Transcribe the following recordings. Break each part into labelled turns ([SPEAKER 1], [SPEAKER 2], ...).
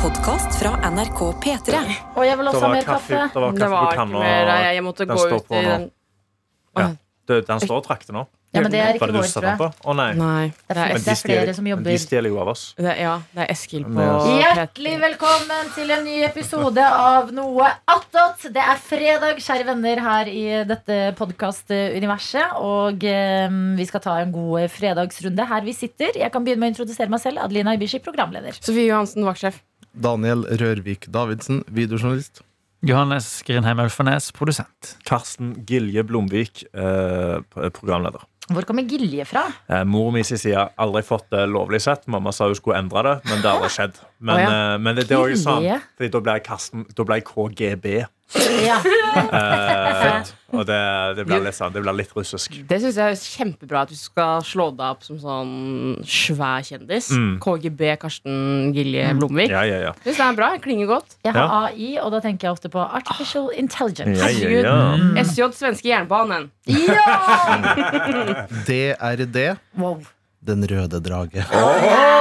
[SPEAKER 1] podkast fra NRK P3.
[SPEAKER 2] Og jeg vil
[SPEAKER 3] Det
[SPEAKER 2] også ha
[SPEAKER 3] var
[SPEAKER 2] mer
[SPEAKER 3] kaffe,
[SPEAKER 2] kaffe.
[SPEAKER 3] det var
[SPEAKER 4] Det
[SPEAKER 3] kaffe
[SPEAKER 4] var
[SPEAKER 3] på
[SPEAKER 4] ikke
[SPEAKER 3] kanna.
[SPEAKER 4] mer. Jeg, jeg måtte
[SPEAKER 3] den
[SPEAKER 4] gå
[SPEAKER 3] står
[SPEAKER 4] ut
[SPEAKER 3] på
[SPEAKER 4] i
[SPEAKER 3] nå.
[SPEAKER 4] den
[SPEAKER 3] Ja. Du, den står og trakter nå.
[SPEAKER 2] Ja, men det er ikke
[SPEAKER 3] Var det
[SPEAKER 2] vår,
[SPEAKER 3] du satte den
[SPEAKER 2] tror
[SPEAKER 3] på? Å nei.
[SPEAKER 4] Nei.
[SPEAKER 2] Det
[SPEAKER 4] Det
[SPEAKER 2] er,
[SPEAKER 4] er
[SPEAKER 3] Men
[SPEAKER 2] det
[SPEAKER 3] de
[SPEAKER 2] er flere
[SPEAKER 3] stjeler-
[SPEAKER 2] som
[SPEAKER 3] men de
[SPEAKER 2] jobber.
[SPEAKER 3] stjeler jo av oss.
[SPEAKER 4] Det, er- ja, det er Eskil på
[SPEAKER 3] Men-
[SPEAKER 2] Hjertelig velkommen til en ny episode av Noe attåt. Det er fredag, kjære venner, her i dette podkastuniverset. Og eh, vi skal ta en god fredagsrunde her vi sitter. Jeg kan begynne med å introdusere meg selv. Adelina Ibishi, programleder.
[SPEAKER 4] Sofie Johansen, vaktsjef.
[SPEAKER 5] Daniel Rørvik Davidsen, videojournalist.
[SPEAKER 6] Johannes Grindheim Elfenes, produsent.
[SPEAKER 3] Karsten Gilje Blomvik, eh, programleder.
[SPEAKER 2] Hvor kommer Gilje fra?
[SPEAKER 3] Eh, mor mi sin side aldri fått det lovlig sett. Mamma sa hun skulle endre det, men det har aldri skjedd. Men,
[SPEAKER 4] Å ja.
[SPEAKER 3] eh, men det, det var jo
[SPEAKER 2] Gilje.
[SPEAKER 3] sånn, fordi da ble jeg Karsten, da ble jeg KGB.
[SPEAKER 2] Ja.
[SPEAKER 3] Eh, og det, det ble litt sånn, det ble litt russisk.
[SPEAKER 4] Det syns jeg er kjempebra at du skal slå deg opp som sånn svær kjendis.
[SPEAKER 3] Mm.
[SPEAKER 4] KGB Karsten Gilje Blomvik.
[SPEAKER 3] Ja, ja, ja.
[SPEAKER 4] Syns det er bra. jeg Klinger godt.
[SPEAKER 2] Jeg har AI, og da tenker jeg ofte på artificial intelligence.
[SPEAKER 3] ja, ja, ja.
[SPEAKER 4] SJ Svenske Jernbanen.
[SPEAKER 2] Ja!
[SPEAKER 5] DRD,
[SPEAKER 2] Wow.
[SPEAKER 5] Den røde drage.
[SPEAKER 3] Åh!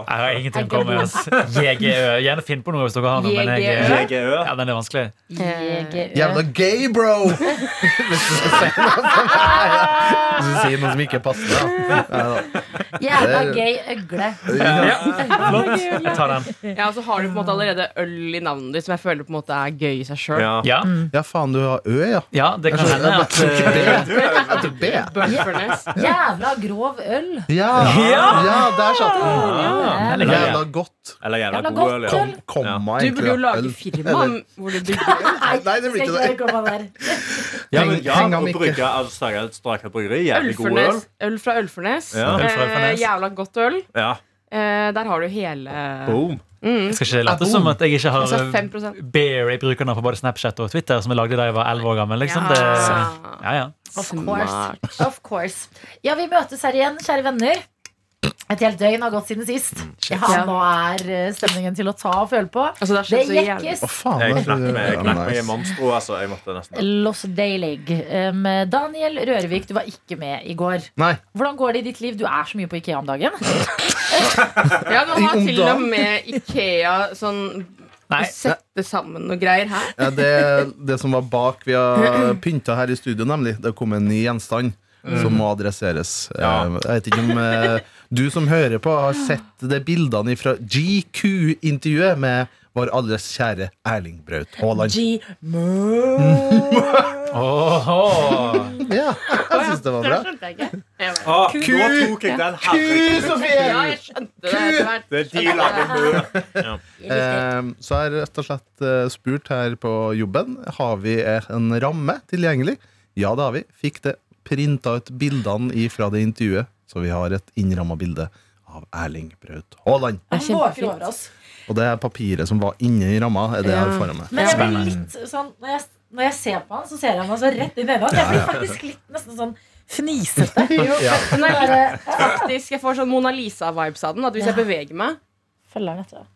[SPEAKER 6] Jeg har ingenting å komme med. ass. JGØ. Gjerne finn på noe hvis dere har noe. Men jeg, eh,
[SPEAKER 3] GGØ.
[SPEAKER 6] ja, den er vanskelig.
[SPEAKER 2] JGØ.
[SPEAKER 5] Jævla gay, bro! Hvis du skal si noe som er
[SPEAKER 2] Ah,
[SPEAKER 5] Hvis du sier noe som ikke passer deg. da.
[SPEAKER 2] Jævla gøy øgle.
[SPEAKER 6] Jeg tar den.
[SPEAKER 4] Ja, og så har du på en måte allerede øl i navnet ditt, som jeg føler på en måte er gøy i seg sjøl.
[SPEAKER 3] Ja.
[SPEAKER 6] Ja,
[SPEAKER 5] Ja, faen, du har Ø, ja.
[SPEAKER 6] ja det kan hende at eh,
[SPEAKER 5] at B.
[SPEAKER 4] Bøffernes.
[SPEAKER 2] Jævla grov øl.
[SPEAKER 5] Ja, ja der satt den.
[SPEAKER 6] den ligger der.
[SPEAKER 5] Jævla godt.
[SPEAKER 3] Eller jævla
[SPEAKER 2] Jævla
[SPEAKER 3] god
[SPEAKER 2] godt
[SPEAKER 3] øl. ja.
[SPEAKER 2] øl.
[SPEAKER 5] Komma,
[SPEAKER 4] Du burde jo
[SPEAKER 5] egentlig,
[SPEAKER 4] lage
[SPEAKER 5] øl.
[SPEAKER 4] firma hvor du bygger
[SPEAKER 5] Nei, det blir
[SPEAKER 2] Skal
[SPEAKER 5] ikke
[SPEAKER 2] ikke
[SPEAKER 5] det.
[SPEAKER 2] komme der.
[SPEAKER 3] Ja, men ja,
[SPEAKER 5] Heng- heng ham
[SPEAKER 3] å
[SPEAKER 5] ikke.
[SPEAKER 3] brygge altså, Strakhaug- Strakhaug bryggeri. Jævlig god øl.
[SPEAKER 4] Ølfernes. Øl fra Ølfernes.
[SPEAKER 3] Ja.
[SPEAKER 6] Øl fra Ølfernes.
[SPEAKER 4] Eh, jævla godt øl.
[SPEAKER 3] Ja,
[SPEAKER 4] Eh, der har du hele Mm.
[SPEAKER 3] boom.
[SPEAKER 6] Jeg skal ikke late som at jeg ikke har
[SPEAKER 4] Altså
[SPEAKER 6] eh,
[SPEAKER 4] 5
[SPEAKER 6] beer i brukerne på både Snapchat og Twitter, som jeg lagde da jeg var 11 år gammel. Liksom. Det,
[SPEAKER 4] Ja.
[SPEAKER 6] ja, ja.
[SPEAKER 2] Of course. of course. Ja, vi møtes her igjen, kjære venner. Et helt døgn har gått siden sist. Ja,
[SPEAKER 4] Ja.
[SPEAKER 2] nå er eh, stemningen til å ta og føle på.
[SPEAKER 4] Altså, det
[SPEAKER 2] Det
[SPEAKER 4] har skjedd så jævlig.
[SPEAKER 2] jekkes.
[SPEAKER 5] Å, faen.
[SPEAKER 3] Jeg
[SPEAKER 5] det er-
[SPEAKER 3] knakk meg jeg
[SPEAKER 5] Ja,
[SPEAKER 3] knakk meg i
[SPEAKER 5] nice.
[SPEAKER 3] monstro, altså. Jeg måtte nesten
[SPEAKER 2] Los Daily. Um, Daniel Rørvik, du var ikke med i går.
[SPEAKER 5] Nei.
[SPEAKER 2] Hvordan går det i ditt liv? Du er så mye på Ikea om dagen.
[SPEAKER 4] Ja, nå
[SPEAKER 5] I
[SPEAKER 4] har
[SPEAKER 5] ung
[SPEAKER 4] til og
[SPEAKER 5] dag.
[SPEAKER 4] med Ikea sånn
[SPEAKER 6] Nei.
[SPEAKER 4] sette sammen noe greier her.
[SPEAKER 5] Ja, det, det som var bak vi har pynta her i studio, nemlig. Det kom en ny gjenstand. Som må adresseres.
[SPEAKER 3] Ja.
[SPEAKER 5] Eh, Jeg vet ikke om eh, du som hører på, har sett de bildene fra GQ-intervjuet med vår alles kjære Erling Braut Haaland.
[SPEAKER 6] Åhå.
[SPEAKER 5] Ja, jeg syns det var bra.
[SPEAKER 4] Det skjønte jeg ikke. Jeg vet.
[SPEAKER 3] Å, Ah, Nå tok jeg den. Herregud.
[SPEAKER 4] Ja, jeg skjønte det etter hvert.
[SPEAKER 3] Det er de lager mø.
[SPEAKER 5] Eh, Så jeg har rett og slett eh, spurt her på jobben Har vi eh, en ramme tilgjengelig. Ja, det har vi. Fikk det printa ut bildene fra det intervjuet. Så vi har et innramma bilde av Erling Braut Haaland.
[SPEAKER 4] Det er
[SPEAKER 2] Han våker
[SPEAKER 4] kjempefint.
[SPEAKER 2] over oss.
[SPEAKER 5] Og det er papiret som var inni ramma. Er det jeg har
[SPEAKER 4] Ja.
[SPEAKER 5] foran meg.
[SPEAKER 2] Men jeg blir
[SPEAKER 6] Spennende.
[SPEAKER 2] litt sånn Når jeg, når jeg ser på han, så ser jeg han altså rett inn i øynene. Jeg blir faktisk litt nesten sånn fnisete. Sånn eh,
[SPEAKER 5] Ja.
[SPEAKER 4] Den er litt
[SPEAKER 2] Bare
[SPEAKER 4] faktisk, Jeg får sånn Mona Lisa-vibes av den. At hvis jeg beveger meg,
[SPEAKER 2] følger han etter.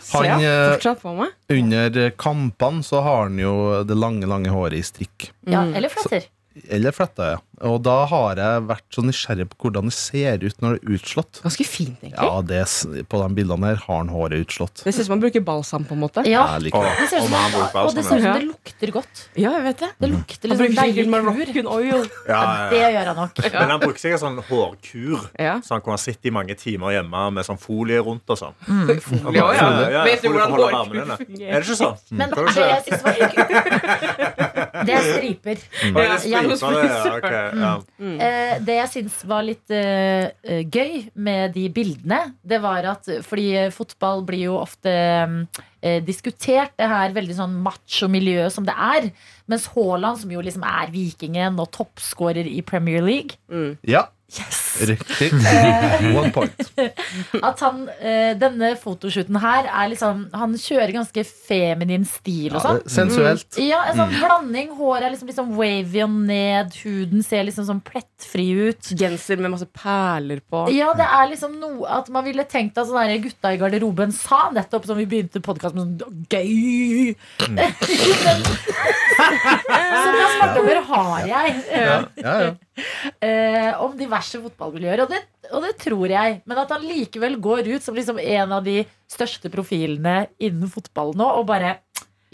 [SPEAKER 4] ser
[SPEAKER 5] Han,
[SPEAKER 4] jeg
[SPEAKER 5] eh,
[SPEAKER 4] fortsatt på meg.
[SPEAKER 5] Under kampene så har han jo det lange, lange håret i strikk.
[SPEAKER 2] Ja,
[SPEAKER 4] Mm.
[SPEAKER 2] eller fletter.
[SPEAKER 5] Eller fletta, ja. Og da har jeg vært så nysgjerrig på hvordan det ser ut når det er utslått.
[SPEAKER 4] Ganske fint, egentlig.
[SPEAKER 5] Ja, det, s- på de bildene her har han håret utslått.
[SPEAKER 4] Det ser ut som man bruker balsam, på en måte.
[SPEAKER 2] Ja,
[SPEAKER 5] Jeg liker det.
[SPEAKER 3] Å,
[SPEAKER 2] det ser ut
[SPEAKER 3] om
[SPEAKER 2] som,
[SPEAKER 3] han bruker
[SPEAKER 2] og det ser ut
[SPEAKER 3] balsam.
[SPEAKER 2] som
[SPEAKER 4] Ja.
[SPEAKER 2] det lukter godt.
[SPEAKER 4] Ja, jeg vet det.
[SPEAKER 2] Det lukter
[SPEAKER 4] Han
[SPEAKER 2] liksom
[SPEAKER 4] bruker sikkert
[SPEAKER 2] deilig.
[SPEAKER 4] Moroccan oil.
[SPEAKER 3] Ja,
[SPEAKER 2] Det
[SPEAKER 3] Mm. ja, ja.
[SPEAKER 2] gjør han nok.
[SPEAKER 3] Men han brukte sikkert sånn hårkur,
[SPEAKER 4] Ja.
[SPEAKER 3] så han kunne ha sittet i mange timer hjemme med sånn folie rundt og sånn.
[SPEAKER 4] Folie, ja, ja. Vet du
[SPEAKER 3] folie for å
[SPEAKER 4] hvordan
[SPEAKER 3] holde
[SPEAKER 4] hårkur
[SPEAKER 3] varmen inne.
[SPEAKER 4] fungerer?
[SPEAKER 3] Er det ikke sånn?
[SPEAKER 2] Men
[SPEAKER 3] Kan du
[SPEAKER 2] det
[SPEAKER 3] se?
[SPEAKER 2] jeg synes var hyggelig Det er striper.
[SPEAKER 3] Å, er det
[SPEAKER 4] Ja,
[SPEAKER 3] striper?
[SPEAKER 4] ja,
[SPEAKER 3] Ja, ok, ja.
[SPEAKER 4] Mm.
[SPEAKER 2] Eh, det jeg syns var litt eh, eh, gøy med de bildene, det var at Fordi eh, fotball blir jo ofte eh, diskutert, det her veldig sånn macho miljø som det er. Mens Haaland, som jo liksom er vikingen og toppskårer i Premier League
[SPEAKER 5] Ja,
[SPEAKER 2] Yes!
[SPEAKER 5] riktig. One point.
[SPEAKER 2] At han, eh, denne fotoshooten her er liksom Han kjører ganske feminin stil og
[SPEAKER 5] Ja,
[SPEAKER 2] sånn.
[SPEAKER 5] det, Mm. sensuelt.
[SPEAKER 2] Ja, en sånn blanding. Håret er liksom litt sånn wavy og ned. Huden ser liksom sånn plettfri ut.
[SPEAKER 4] Genser med masse perler på.
[SPEAKER 2] Ja, det er liksom noe at man ville tenkt at sånne her gutta i garderoben sa, nettopp som vi begynte podkasten med sånn gøy.
[SPEAKER 5] Mm.
[SPEAKER 2] Men- Så hva svartobber har jeg?
[SPEAKER 4] Mm.
[SPEAKER 5] Ja, ja, ja.
[SPEAKER 2] eh, om diverse fotballmiljøer, og det, og det tror jeg. Men at han likevel går ut som liksom en av de største profilene innen fotball nå, og bare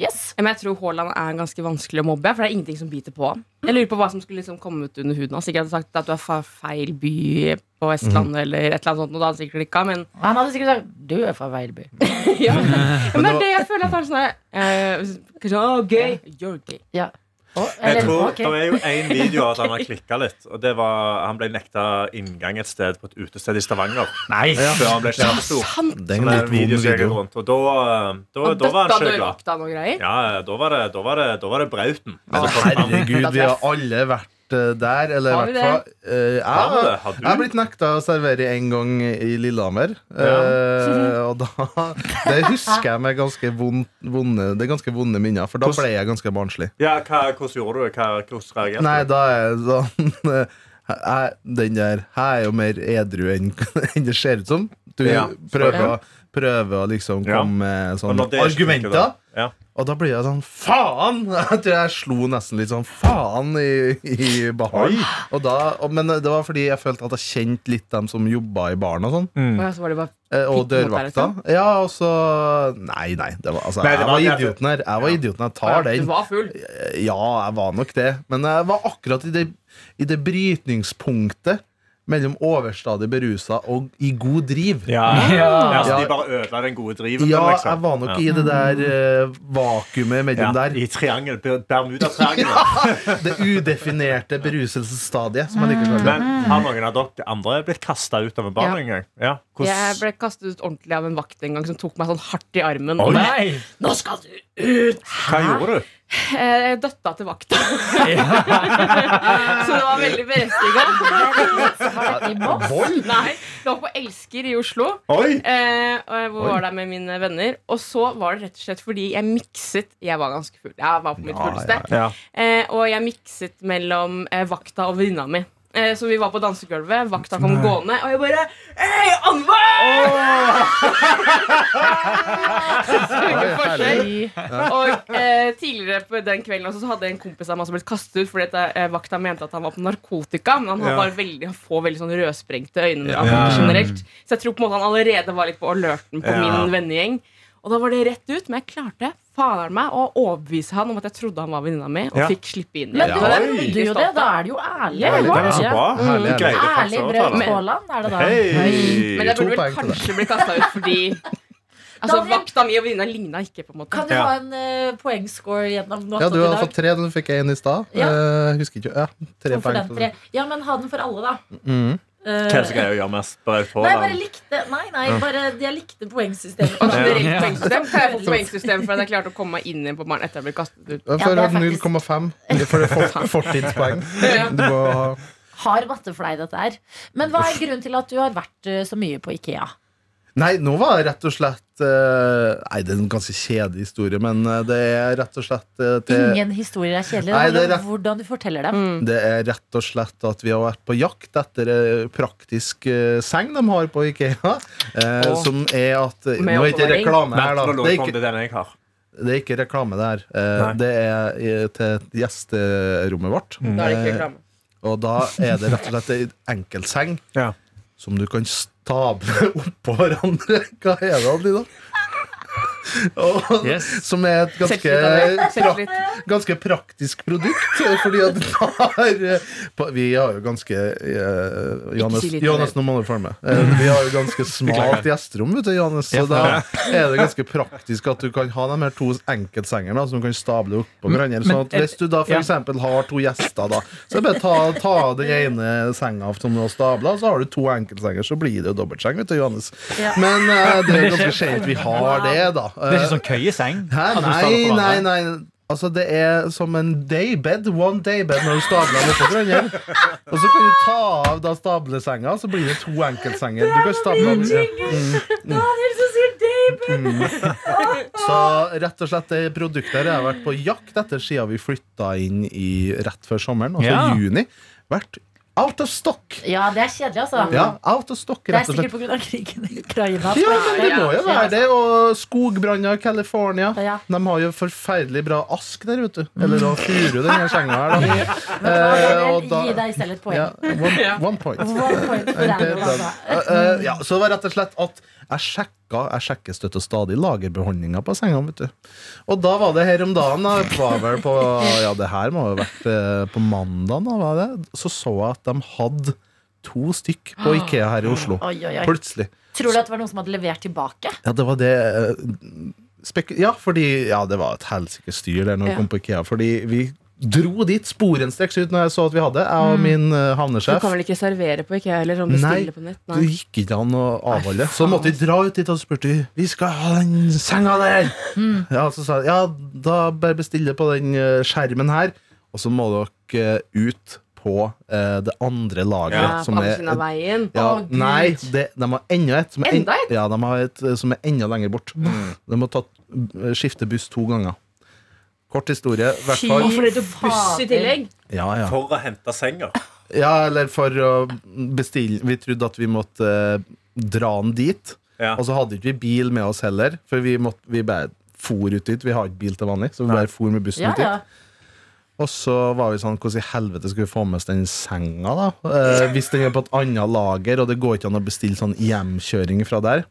[SPEAKER 2] Yes!
[SPEAKER 4] Men jeg tror Haaland er ganske vanskelig å mobbe, for det er ingenting som biter på ham. Jeg lurer på hva som skulle liksom komme ut under huden hans. Sikkert hadde sagt at du er fra feil by på Vestlandet, eller et eller annet sånt, og da hadde han sikkert klikka, men
[SPEAKER 2] Han hadde sikkert sagt 'du er fra Veilby'.
[SPEAKER 4] ja. Men det
[SPEAKER 5] det
[SPEAKER 4] er
[SPEAKER 5] var-
[SPEAKER 4] det jeg føler at han sånn er eh, Kanskje oh, gay. You're gay.
[SPEAKER 2] Ja. Og-
[SPEAKER 3] Jeg
[SPEAKER 2] eller,
[SPEAKER 3] tror,
[SPEAKER 2] ok.
[SPEAKER 3] Det er jo én video at han har klikka litt. Og det var, Han ble nekta inngang et sted på et utested i Stavanger.
[SPEAKER 6] Nei!
[SPEAKER 3] Før han ble kjempestor.
[SPEAKER 4] Sant!
[SPEAKER 5] Det
[SPEAKER 3] Så
[SPEAKER 5] er en
[SPEAKER 3] det er
[SPEAKER 5] litt
[SPEAKER 3] en video
[SPEAKER 5] vond
[SPEAKER 3] som gikk
[SPEAKER 5] video.
[SPEAKER 3] rundt, og da, da, da var han
[SPEAKER 4] Døtta
[SPEAKER 3] ikke
[SPEAKER 4] døde
[SPEAKER 3] glad.
[SPEAKER 4] opp da noe greier.
[SPEAKER 3] Ja, ja, da var det, da var det, da var det brauten. som
[SPEAKER 5] Men
[SPEAKER 3] kom fram.
[SPEAKER 5] herregud, vi har alle vært eh, der, eller i
[SPEAKER 4] Har vi
[SPEAKER 5] hvert fall eh, jeg-
[SPEAKER 3] Har vi det? Har du?
[SPEAKER 5] Jeg har blitt nekta å servere en gang i Lillehammer. eh, og da Det husker jeg med ganske vond, vonde, det er ganske vonde minner, for da ble jeg ganske barnslig.
[SPEAKER 3] Ja, hva, hvordan gjorde du det? Hva- Hvordan reagerte
[SPEAKER 5] Nei,
[SPEAKER 3] du?
[SPEAKER 5] da er jeg sånn eh, jeg, Den der Jeg er jo mer edru enn enn det ser ut som. Du
[SPEAKER 3] Ja.
[SPEAKER 5] prøver, å- prøver å liksom
[SPEAKER 3] Ja.
[SPEAKER 5] komme med
[SPEAKER 3] Og
[SPEAKER 5] sånne
[SPEAKER 3] når det ikke funker,
[SPEAKER 5] argumenter.
[SPEAKER 3] da? Ja.
[SPEAKER 5] Og da blir jeg sånn Faen! Jeg tror jeg slo nesten litt sånn faen i, i baren. Og da, og, men det var fordi jeg følte at jeg kjente litt dem som jobba i baren og sånn.
[SPEAKER 3] Mm.
[SPEAKER 4] Og så var det bare
[SPEAKER 5] Eh,
[SPEAKER 4] Fikk
[SPEAKER 5] Og
[SPEAKER 4] mot deg,
[SPEAKER 5] dørvakta.
[SPEAKER 4] liksom?
[SPEAKER 5] Ja, og så Nei, nei. Det var, altså,
[SPEAKER 3] Nei, det
[SPEAKER 5] jeg
[SPEAKER 3] var-
[SPEAKER 5] var idioten her. Jeg var idioten.
[SPEAKER 4] «Å
[SPEAKER 5] Jeg
[SPEAKER 4] ja,
[SPEAKER 5] tar
[SPEAKER 4] Du
[SPEAKER 5] den.
[SPEAKER 4] var full.
[SPEAKER 5] Ja, jeg var nok det. Men jeg var akkurat i det, i det brytningspunktet mellom overstadig berusa og i god driv.
[SPEAKER 3] Ja.
[SPEAKER 6] Ja.
[SPEAKER 3] så
[SPEAKER 5] Ja.
[SPEAKER 3] de bare ødela den gode driven?
[SPEAKER 5] Ja,
[SPEAKER 3] din, liksom.
[SPEAKER 5] jeg var nok i det der eh, vakuumet mellom
[SPEAKER 3] ja.
[SPEAKER 5] der.
[SPEAKER 3] I triangel, Ber- Bermuda-triangelet.
[SPEAKER 5] Det udefinerte beruselsesstadiet, som jeg liker så godt.
[SPEAKER 2] Mm.
[SPEAKER 3] Men har noen av dere andre blitt kasta ut av en bar
[SPEAKER 4] Ja.
[SPEAKER 3] en gang? Ja.
[SPEAKER 4] Jeg
[SPEAKER 3] Hvordan
[SPEAKER 4] ble kastet ut ordentlig av en vakt en gang som tok meg sånn hardt i armen.
[SPEAKER 3] Oi.
[SPEAKER 6] Nei!
[SPEAKER 3] Hva gjorde du?
[SPEAKER 4] Eh, døtta til vakta. så det var veldig berettiga.
[SPEAKER 2] Var det i Moss?
[SPEAKER 4] Nei, det var på Elsker i Oslo.
[SPEAKER 3] Oi!
[SPEAKER 4] Eh, og jeg var der med mine venner. Og så var det rett og slett fordi jeg mikset Jeg var ganske full. Jeg var på mitt fulleste.
[SPEAKER 3] Ja.
[SPEAKER 4] Eh, og jeg mikset mellom eh, vakta og venninna mi. Eh, så vi var på dansegulvet, vakta kom gående, og jeg bare Hei, Anne! Ingen forskjell.
[SPEAKER 2] Fy.
[SPEAKER 4] Og eh, tidligere på den kvelden også, så hadde en kompis av meg som blitt kastet ut fordi at, eh, vakta mente at han var på narkotika. Men han har
[SPEAKER 3] Ja.
[SPEAKER 4] bare veldig, han får veldig sånn rødsprengte øyne når han
[SPEAKER 3] Ja.
[SPEAKER 4] tenker generelt. Så jeg tror på en måte han allerede var litt på alerten på
[SPEAKER 3] Ja.
[SPEAKER 4] min vennegjeng. Og da var det rett ut, men jeg klarte fader meg å overbevise han om at jeg trodde han var venninna mi, og
[SPEAKER 3] Ja.
[SPEAKER 4] fikk slippe inn.
[SPEAKER 2] Men
[SPEAKER 4] igjen.
[SPEAKER 2] du
[SPEAKER 4] Og det er
[SPEAKER 3] Oi.
[SPEAKER 2] gjorde jo det. Da er det jo ærlig.
[SPEAKER 5] Ja,
[SPEAKER 3] Det var så
[SPEAKER 2] Ja. Mm,
[SPEAKER 3] bra.
[SPEAKER 5] Herlig,
[SPEAKER 3] Du
[SPEAKER 5] herlig.
[SPEAKER 3] greide
[SPEAKER 2] Ærlig
[SPEAKER 3] faktisk å
[SPEAKER 2] brød
[SPEAKER 3] overtale.
[SPEAKER 2] Haaland er det da.
[SPEAKER 4] Men
[SPEAKER 3] altså. Hei!
[SPEAKER 4] jeg
[SPEAKER 5] To
[SPEAKER 4] burde vel
[SPEAKER 5] poeng til deg.
[SPEAKER 4] kanskje bli kasta ut fordi Altså,
[SPEAKER 2] Daniel-
[SPEAKER 4] vakta mi og venninna ligna ikke, på en måte.
[SPEAKER 2] Kan du
[SPEAKER 3] Ja.
[SPEAKER 2] ha en eh, poengscore gjennom natta
[SPEAKER 5] Ja, du
[SPEAKER 2] til i
[SPEAKER 5] hadde
[SPEAKER 2] dag?
[SPEAKER 5] fått tre, men du fikk én i stad.
[SPEAKER 2] Ja.
[SPEAKER 5] Eh, husker ikke. Ja, tre
[SPEAKER 2] To for
[SPEAKER 5] poeng.
[SPEAKER 2] den, tre. Ja, men ha den for alle, da.
[SPEAKER 5] Mhm.
[SPEAKER 2] Eh,
[SPEAKER 3] Hva er det som greier å gjøre mest? Bare få
[SPEAKER 2] Nei, bare
[SPEAKER 3] den.
[SPEAKER 2] likte Nei, nei, bare jeg likte poengsystemet.
[SPEAKER 4] Og generelt
[SPEAKER 6] Ja.
[SPEAKER 4] poengsystem. Kan jeg få poengsystem for at jeg klarte å komme meg inn igjen på barn etter jeg ble kastet ut?
[SPEAKER 5] Jeg
[SPEAKER 2] Ja, det
[SPEAKER 5] får
[SPEAKER 2] er
[SPEAKER 5] ha 0,5 for det er fort- fortidspoeng. Du må ha
[SPEAKER 2] Har matteflei, dette her. Men hva er grunnen til at du har vært eh, så mye på Ikea?
[SPEAKER 5] Nei, nå var det rett og slett eh, Nei, det er en ganske kjedelig historie, men eh, det er rett og slett eh, til,
[SPEAKER 2] Ingen historier er kjedelige.
[SPEAKER 5] Nei,
[SPEAKER 2] Det
[SPEAKER 5] det er Mm.
[SPEAKER 2] handler om hvordan du forteller dem.
[SPEAKER 5] Det er rett og slett at vi har vært på jakt etter eh, praktisk eh, seng de har på Ikea. eh,
[SPEAKER 4] Åh.
[SPEAKER 5] Som er at eh,
[SPEAKER 4] Med
[SPEAKER 5] Nå er ikke
[SPEAKER 4] oppbevaring.
[SPEAKER 5] reklame
[SPEAKER 3] Vent,
[SPEAKER 5] her,
[SPEAKER 3] nå
[SPEAKER 5] da.
[SPEAKER 3] lurer
[SPEAKER 5] Det
[SPEAKER 3] jeg
[SPEAKER 5] er
[SPEAKER 3] på om
[SPEAKER 5] ikke,
[SPEAKER 3] det er den jeg har.
[SPEAKER 5] det er ikke reklame, det her. Eh,
[SPEAKER 3] Nei.
[SPEAKER 5] Det er eh, til gjesterommet vårt.
[SPEAKER 4] Da er det ikke
[SPEAKER 5] Eh,
[SPEAKER 4] reklame.
[SPEAKER 5] Og da er det rett og slett en enkeltseng
[SPEAKER 3] Ja.
[SPEAKER 5] som du kan stable oppå hverandre. Hva er det, Adelina? Og,
[SPEAKER 6] Yes.
[SPEAKER 5] Som er et
[SPEAKER 4] Selvtillit,
[SPEAKER 5] ganske,
[SPEAKER 4] Adelina. Selvtillit.
[SPEAKER 5] prak- ganske praktisk produkt. eh, Fordi at den har eh, på- Vi har jo ganske eh, Johannes,
[SPEAKER 4] si litt
[SPEAKER 5] Johannes nå må du følge med. Eh, vi har jo ganske smalt gjesterom, vet du, Johannes. Så da er det ganske praktisk at du kan ha de her to enkeltsenger da, som du kan stable oppå hverandre. Sånn at
[SPEAKER 6] men-
[SPEAKER 5] hvis du da
[SPEAKER 6] ja.
[SPEAKER 5] f.eks. eksempel har to gjester, da. Så er det bare ta, ta av den ene senga som du har stabla, så har du to enkeltsenger, så blir det jo dobbeltseng, vet du, Johannes.
[SPEAKER 2] Ja.
[SPEAKER 5] Men eh, det er ganske sjelden vi har det, da.
[SPEAKER 6] Det er ikke sånn køyeseng?
[SPEAKER 5] Hæ?
[SPEAKER 6] at du
[SPEAKER 5] Nei,
[SPEAKER 6] staller på
[SPEAKER 5] nei,
[SPEAKER 6] hverandre?
[SPEAKER 5] nei. Altså, det er som en daybed, one daybed, når du stabler den oppå hverandre. Og så kan du ta av da stablesenga, så blir det to enkeltsenger. Du kan stable
[SPEAKER 2] Mm.
[SPEAKER 5] den. Mm.
[SPEAKER 2] Daniel som sier Dave!
[SPEAKER 5] Så rett og slett det produktet her har jeg vært på jakt etter siden vi flytta inn i rett før sommeren, altså
[SPEAKER 6] Ja.
[SPEAKER 5] juni. Vært Out of stock!
[SPEAKER 2] Ja, det er kjedelig, altså.
[SPEAKER 5] Ja, out of stock,
[SPEAKER 2] Det er
[SPEAKER 5] rett og
[SPEAKER 2] sikkert
[SPEAKER 5] slett.
[SPEAKER 2] pga. krigen i Ukraina.
[SPEAKER 5] Ja, men det må jo
[SPEAKER 2] Ja,
[SPEAKER 5] være det. Og skogbranner i California.
[SPEAKER 2] Ja.
[SPEAKER 5] De har jo forferdelig bra ask der, vet du. Eller da furu, den her senga her. Da.
[SPEAKER 2] Men hva er det
[SPEAKER 5] Eh,
[SPEAKER 2] vel?
[SPEAKER 5] og da-
[SPEAKER 2] Gi deg selv et poeng.
[SPEAKER 5] Ja, one, one point.
[SPEAKER 2] One point for
[SPEAKER 5] Ok,
[SPEAKER 2] den,
[SPEAKER 5] den.
[SPEAKER 2] altså.
[SPEAKER 5] Eh, eh, ja, så det var rett og slett at jeg sjekka jeg sjekker støtt og stadig lagerbeholdninga på senga. vet du. Og da var det her om dagen da, det var vel på, Ja, det her må ha vært eh, på mandag. da, var det, Så så jeg at de hadde to stykk på Ikea her i Oslo.
[SPEAKER 2] Oi, oi, oi.
[SPEAKER 5] Plutselig.
[SPEAKER 2] Tror du at det var noen som hadde levert tilbake?
[SPEAKER 5] Ja, det var det eh, spek Ja, fordi ja, det var et helsikes styr der når vi
[SPEAKER 4] Ja.
[SPEAKER 5] kom på Ikea. Fordi vi dro dit sporenstreks ut når jeg så at vi hadde, jeg og min eh,
[SPEAKER 4] Mm. Du
[SPEAKER 5] havnesjef.
[SPEAKER 4] kan vel ikke servere på IKEA heller? Sånn
[SPEAKER 5] Nei.
[SPEAKER 4] bestille på nett?
[SPEAKER 5] Det
[SPEAKER 4] Nei.
[SPEAKER 5] gikk ikke an å avholde. Så måtte vi dra ut dit og spurte vi, Vi skal ha den senga der.
[SPEAKER 4] Mm.
[SPEAKER 5] Ja, så sa jeg ja, da bare bestille på den eh, skjermen her. Og så må dere eh, ut på eh, det andre laget.
[SPEAKER 4] Ja, på
[SPEAKER 5] som
[SPEAKER 4] andre
[SPEAKER 5] er
[SPEAKER 4] siden av veien.
[SPEAKER 5] ja,
[SPEAKER 2] Å, Gud.
[SPEAKER 5] Nei, det, de har enda et. Som er en-
[SPEAKER 4] Enda et?
[SPEAKER 5] Ja, de har et eh, som er enda lenger bort.
[SPEAKER 2] Mm.
[SPEAKER 5] De må ta, skifte buss to ganger. Kort historie. i Hvert fall.
[SPEAKER 4] Og for det er jo buss i
[SPEAKER 2] fader.
[SPEAKER 4] tillegg!
[SPEAKER 5] Ja, ja.
[SPEAKER 3] For å hente senga.
[SPEAKER 5] ja, eller for å bestille Vi trodde at vi måtte eh, dra den dit.
[SPEAKER 3] Ja.
[SPEAKER 5] Og så hadde ikke vi bil med oss heller, for vi, måtte, vi bare for ut dit. Vi har ikke bil til vanlig, så vi bare for med bussen
[SPEAKER 2] Ja,
[SPEAKER 5] ut
[SPEAKER 2] ja.
[SPEAKER 5] dit. Og så var vi sånn Hvordan i helvete skal vi få med oss den senga, da? Eh, hvis den er på et annet lager, og det går ikke an å bestille sånn hjemkjøring fra der.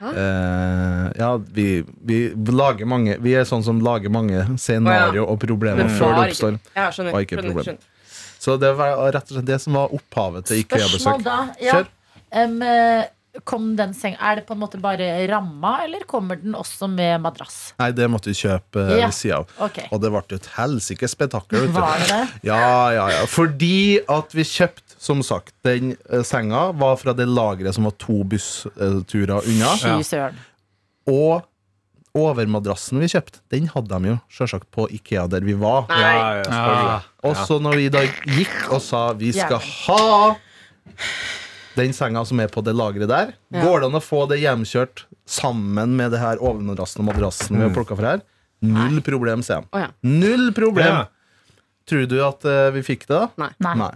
[SPEAKER 5] Eh, ja, vi, vi lager mange Vi er sånn som lager mange scenario og problemer
[SPEAKER 4] Men
[SPEAKER 5] før det
[SPEAKER 4] var ikke-
[SPEAKER 5] oppstår.
[SPEAKER 4] Ja, skjønner.
[SPEAKER 5] Var ikke et
[SPEAKER 4] skjønner,
[SPEAKER 5] problem.
[SPEAKER 4] skjønner.
[SPEAKER 5] Så det var rett og slett det som var opphavet til
[SPEAKER 2] Spørsmål
[SPEAKER 5] IKEA-besøk.
[SPEAKER 2] da. Ja.
[SPEAKER 5] Kjør.
[SPEAKER 2] Em, eh, kom den seng Er det på en måte bare ramma, eller kommer den også med madrass?
[SPEAKER 5] Nei, det måtte vi kjøpe eh,
[SPEAKER 2] Ja.
[SPEAKER 5] ved sida av.
[SPEAKER 2] Ok.
[SPEAKER 5] Og det ble jo et helsikes spetakkel. vet du.
[SPEAKER 2] Var det det?
[SPEAKER 5] Ja, ja, ja. Fordi at vi kjøpte, som sagt, den eh, senga var fra det lageret som var to bussturer unna.
[SPEAKER 2] Fy søren.
[SPEAKER 5] Og overmadrassen vi kjøpte, den hadde de jo selvsagt på Ikea der vi var.
[SPEAKER 3] Ja, ja, selvfølgelig.
[SPEAKER 6] Ah,
[SPEAKER 5] Og så når vi da gikk og sa vi skal ha den senga som er på det lageret der, går det an å få det hjemkjørt sammen med det her overmadrassen og madrassen vi har plukka fra her? Null problem, sier de.
[SPEAKER 4] Å, ja.
[SPEAKER 5] Null problem!
[SPEAKER 3] Ja.
[SPEAKER 5] Tror du at eh, vi fikk det, da?
[SPEAKER 4] Nei.
[SPEAKER 2] Nei.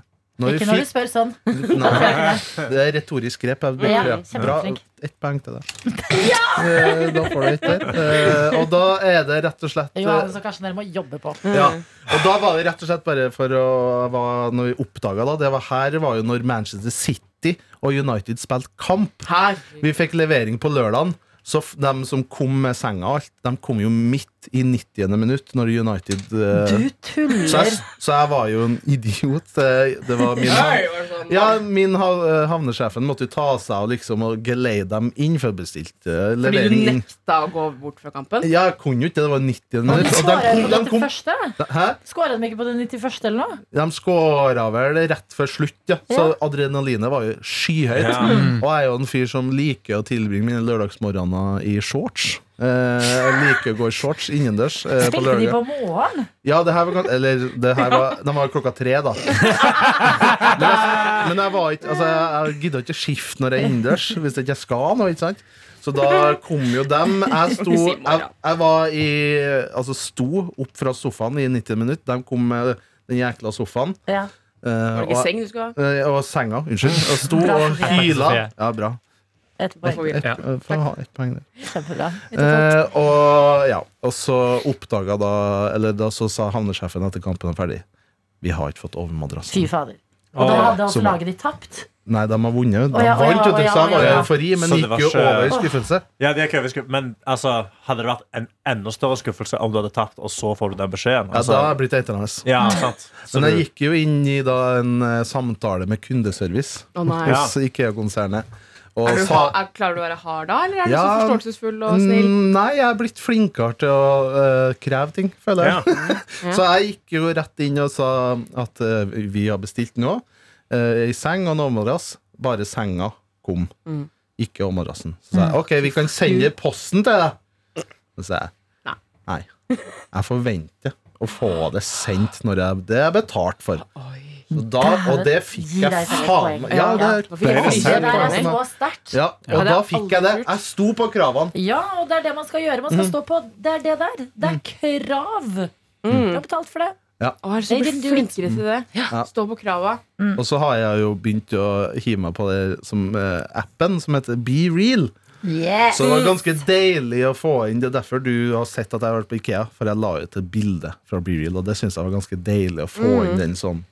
[SPEAKER 5] Når
[SPEAKER 2] Ikke
[SPEAKER 5] vi
[SPEAKER 2] når du
[SPEAKER 5] fikk
[SPEAKER 2] spør sånn.
[SPEAKER 5] Nei, det er retorisk grep. Jeg
[SPEAKER 2] Ja,
[SPEAKER 5] beklager. Bra.
[SPEAKER 2] kjempeflink.
[SPEAKER 5] Ett poeng til deg. Eh, Da får du ett der. Eh, Og da er det rett og slett eh,
[SPEAKER 2] Johannes og Karsten, dere må jobbe på.
[SPEAKER 5] ja. Og da var det rett og slett bare for å hva- Når vi oppdaga da, det var her var jo når Manchester City og United spilte kamp.
[SPEAKER 4] Her.
[SPEAKER 5] Vi fikk levering på lørdagen. Så f- de som kom med senga og alt, de kom jo midt i 90. minutt når United eh,
[SPEAKER 2] Du
[SPEAKER 5] så, jeg,
[SPEAKER 2] tuller!
[SPEAKER 5] så jeg var jo en idiot. Eh, Det var min
[SPEAKER 4] Her var det sånn.
[SPEAKER 5] ja, min hav- havnesjefen måtte jo ta seg av liksom og geleie dem inn før bestilt eh,
[SPEAKER 4] Fordi du
[SPEAKER 5] levering.
[SPEAKER 4] nekta å gå bort fra kampen?
[SPEAKER 5] Ja, jeg kunne jo ikke det. Det var
[SPEAKER 2] Men
[SPEAKER 5] 90 minutter.
[SPEAKER 2] skåra de
[SPEAKER 5] Og de,
[SPEAKER 2] på
[SPEAKER 5] kom,
[SPEAKER 2] den 91.?
[SPEAKER 5] de, kom, hæ?
[SPEAKER 2] Skåra de ikke på den 91. eller noe?
[SPEAKER 5] de skåra vel rett før slutt, ja. Så
[SPEAKER 2] Ja.
[SPEAKER 5] adrenalinet var jo skyhøyt. Mm.
[SPEAKER 3] Ja.
[SPEAKER 5] Og jeg er jo en fyr som liker å tilbringe mine lørdagsmorgener i shorts. Eh, jeg liker å gå i shorts innendørs eh, på
[SPEAKER 2] Spilte de
[SPEAKER 5] lørdag.
[SPEAKER 2] på morgenen?
[SPEAKER 5] Ja, det her var gans- Eller, det her var, de var klokka tre, da. Men jeg, men jeg var ikke Altså, jeg, jeg gidda ikke skifte når jeg er innendørs, hvis ikke jeg skal noe, ikke sant? Så da kom jo dem. Jeg sto Jeg, jeg var i Altså sto opp fra sofaen i 90 minutter. De kom med den jækla sofaen.
[SPEAKER 2] Ja.
[SPEAKER 5] eh,
[SPEAKER 4] Var det
[SPEAKER 5] og,
[SPEAKER 4] ikke seng du skulle ha?
[SPEAKER 5] eh, og senga. Unnskyld. Og sto
[SPEAKER 2] Bra,
[SPEAKER 5] og
[SPEAKER 2] Sofie.
[SPEAKER 5] hyla. Ja, bra.
[SPEAKER 2] Etterpå.
[SPEAKER 4] Da får vi-
[SPEAKER 5] Ett
[SPEAKER 6] Ja.
[SPEAKER 5] eh, får ha ett poeng der.
[SPEAKER 2] Kjempebra.
[SPEAKER 5] Eh, og, ja, og så oppdaga da Eller da så sa havnesjefen etter kampen var ferdig Vi har ikke fått overmadrassen.
[SPEAKER 2] Fy fader. Og da hadde altså
[SPEAKER 5] så bra.
[SPEAKER 2] laget de tapt.
[SPEAKER 5] Nei, de har vunnet. De
[SPEAKER 2] Å ja, å ja,
[SPEAKER 5] vant, vet
[SPEAKER 2] å
[SPEAKER 5] du,
[SPEAKER 2] ja,
[SPEAKER 5] så jeg
[SPEAKER 2] å
[SPEAKER 5] var i
[SPEAKER 2] ja.
[SPEAKER 5] eufori, men
[SPEAKER 3] Så det
[SPEAKER 5] gikk
[SPEAKER 3] var
[SPEAKER 5] jo
[SPEAKER 3] ikke-
[SPEAKER 5] over i skuffelse.
[SPEAKER 3] Ja, det er ikke overskudd, men altså, hadde det vært en enda større skuffelse om du hadde tapt, og så får du den beskjeden?
[SPEAKER 5] Ja,
[SPEAKER 3] Altså,
[SPEAKER 5] da er jeg blitt eitrende.
[SPEAKER 3] ja, sant. Så
[SPEAKER 5] Men jeg
[SPEAKER 3] du-
[SPEAKER 5] gikk jo inn i da en eh, samtale med kundeservice
[SPEAKER 4] Å nei.
[SPEAKER 3] Ja.
[SPEAKER 5] hos IKEA-konsernet. Og
[SPEAKER 4] Er du,
[SPEAKER 5] sa-
[SPEAKER 4] ha- er, klarer du å være hard da, eller er du så
[SPEAKER 5] Ja.
[SPEAKER 4] forståelsesfull og snill?
[SPEAKER 5] Mm, Nei, jeg er blitt flinkere til å eh, kreve ting, føler jeg.
[SPEAKER 3] ja.
[SPEAKER 5] Så jeg gikk jo rett inn og sa at eh, vi har bestilt nå. Uh, I seng og en overmadrass. Bare senga kom.
[SPEAKER 4] Mm.
[SPEAKER 5] Ikke overmadrassen. Så sa jeg OK, vi kan sende posten til deg. Så sa
[SPEAKER 4] Nei.
[SPEAKER 5] jeg nei. Jeg forventer å få det sendt når jeg Det er betalt for.
[SPEAKER 4] Oi.
[SPEAKER 5] Så da, og det fikk
[SPEAKER 2] Gi deg
[SPEAKER 5] jeg
[SPEAKER 2] selv et
[SPEAKER 5] faen
[SPEAKER 2] poeng.
[SPEAKER 5] meg. Ja,
[SPEAKER 4] Ja,
[SPEAKER 5] det
[SPEAKER 4] da fikk jeg
[SPEAKER 5] det er
[SPEAKER 2] Det
[SPEAKER 4] selv
[SPEAKER 5] sant.
[SPEAKER 2] der er
[SPEAKER 4] poeng.
[SPEAKER 2] så sterkt.
[SPEAKER 5] Ja,
[SPEAKER 4] Ja,
[SPEAKER 5] og
[SPEAKER 4] det har
[SPEAKER 5] da
[SPEAKER 4] jeg
[SPEAKER 5] fikk jeg det.
[SPEAKER 4] aldri gjort.
[SPEAKER 5] Jeg sto på kravene.
[SPEAKER 2] Ja, og
[SPEAKER 5] Mm. Mm.
[SPEAKER 2] det er det man skal gjøre. Man skal stå på. Det er det der. Det er krav. Du har betalt for det.
[SPEAKER 5] Ja.
[SPEAKER 4] Å, jeg er så
[SPEAKER 2] They
[SPEAKER 4] mye
[SPEAKER 2] didn't do it.
[SPEAKER 4] flinkere til det.
[SPEAKER 5] Ja.
[SPEAKER 4] Stå på krava.
[SPEAKER 5] Og så har jeg jo begynt å hive meg på det som eh, appen som heter Be Real.
[SPEAKER 2] Yes.
[SPEAKER 5] Så det var ganske deilig å få inn. Det er derfor du har sett at jeg har vært på Ikea, for jeg la ut et bilde fra Be Real, og det syns jeg var ganske deilig å få inn den sånn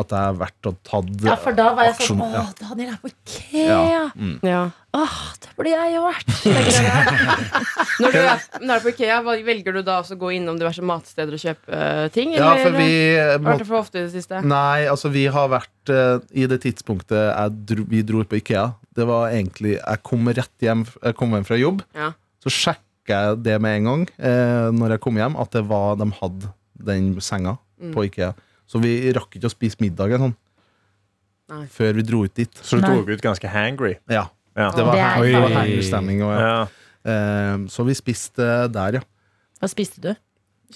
[SPEAKER 5] at jeg har vært og tatt
[SPEAKER 2] Mm. Ja, for da var jeg
[SPEAKER 5] aksjon.
[SPEAKER 2] sånn Å,
[SPEAKER 5] Ja.
[SPEAKER 2] Daniel er på IKEA!
[SPEAKER 5] Ja. mm.
[SPEAKER 4] Ja.
[SPEAKER 2] Åh, det burde jeg jo vært. tenker jeg da.
[SPEAKER 4] Når du er, når du er på Ikea, hva- velger du da også å gå innom diverse matsteder og køpe eh, ting?
[SPEAKER 5] Ja, for vi
[SPEAKER 4] Har vært
[SPEAKER 5] måtte-
[SPEAKER 4] det for ofte i det siste?
[SPEAKER 5] Nei, altså vi har vært eh, I det tidspunktet jeg dro, vi dro på Ikea Det var egentlig Jeg kom rett hjem, jeg kom hjem fra jobb
[SPEAKER 4] Ja.
[SPEAKER 5] Så sjekket jeg det med en gang eh, Når jeg kom hjem At det var, de hadde den senga På Ikea Så vi rakk ikke å spise middag eller sånn,
[SPEAKER 4] Nei.
[SPEAKER 5] Før vi dro ut dit
[SPEAKER 3] Så du
[SPEAKER 2] Nei.
[SPEAKER 3] dro ut ganske hangry.
[SPEAKER 5] Ja,
[SPEAKER 3] Ja.
[SPEAKER 5] det var,
[SPEAKER 2] Det er
[SPEAKER 5] her, det var
[SPEAKER 6] farlig.
[SPEAKER 5] her stemning og, ja.
[SPEAKER 3] Ja.
[SPEAKER 5] Eh, Så vi spiste der, ja
[SPEAKER 2] Hva spiste du?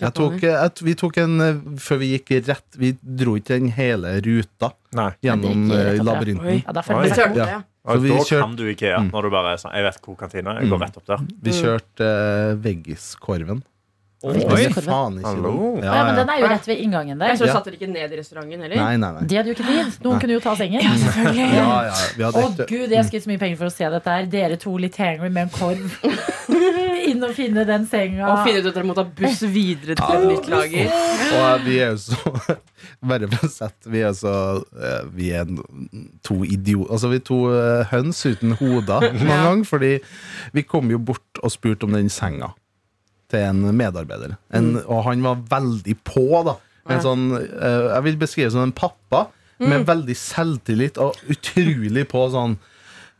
[SPEAKER 5] jeg tok, jeg, Vi tok en eh, Før vi gikk rett Vi dro ikke den hele ruta
[SPEAKER 3] Nei.
[SPEAKER 5] Gjennom
[SPEAKER 2] Ja, det gikk
[SPEAKER 5] eh,
[SPEAKER 2] rett opp, ja.
[SPEAKER 5] labyrinten
[SPEAKER 4] Oi.
[SPEAKER 2] Ja, da
[SPEAKER 3] Oi.
[SPEAKER 2] følte jeg
[SPEAKER 4] Tørte
[SPEAKER 2] meg
[SPEAKER 4] det,
[SPEAKER 5] Ja.
[SPEAKER 4] ja.
[SPEAKER 5] Så
[SPEAKER 3] Og
[SPEAKER 5] vi
[SPEAKER 3] da
[SPEAKER 5] kjørt-
[SPEAKER 3] kan du Ikea
[SPEAKER 5] Mm.
[SPEAKER 3] når du bare er sånn Jeg vet hvor kantina er. Jeg går
[SPEAKER 5] Mm.
[SPEAKER 3] rett opp der.
[SPEAKER 5] Vi kjørte eh, veggiskorven.
[SPEAKER 2] Oi.
[SPEAKER 5] Spiste faen ikke
[SPEAKER 3] Hallo.
[SPEAKER 5] den.
[SPEAKER 2] Å, ja, men den er jo rett ved inngangen
[SPEAKER 4] Jeg
[SPEAKER 2] der.
[SPEAKER 4] så
[SPEAKER 5] Ja.
[SPEAKER 4] satte dere ikke ned i restauranten heller.
[SPEAKER 5] Nei, nei, nei.
[SPEAKER 2] Det hadde jo ikke tid. Noen kunne jo ta sengen. Å
[SPEAKER 5] Ja, ja, vi hadde ekte-
[SPEAKER 2] gud, jeg skulle gitt så mye penger for å se dette her. Dere to litt hangry med en korv. Inn og finne den senga.
[SPEAKER 4] Og finne ut at dere må ta buss videre til et nytt lager.
[SPEAKER 5] Og eh, vi er jo så Bare for å sette Vi er så eh, Vi er n- to idioter Altså, vi er to eh, høns uten hoder noen
[SPEAKER 4] Ja.
[SPEAKER 5] gang, fordi vi kom jo bort og spurte om den senga til en medarbeider. En,
[SPEAKER 2] Mm.
[SPEAKER 5] Og han var veldig på, da. En
[SPEAKER 4] Ja.
[SPEAKER 5] sånn eh, Jeg vil beskrive som en pappa med
[SPEAKER 2] Mm.
[SPEAKER 5] veldig selvtillit og utrolig på sånn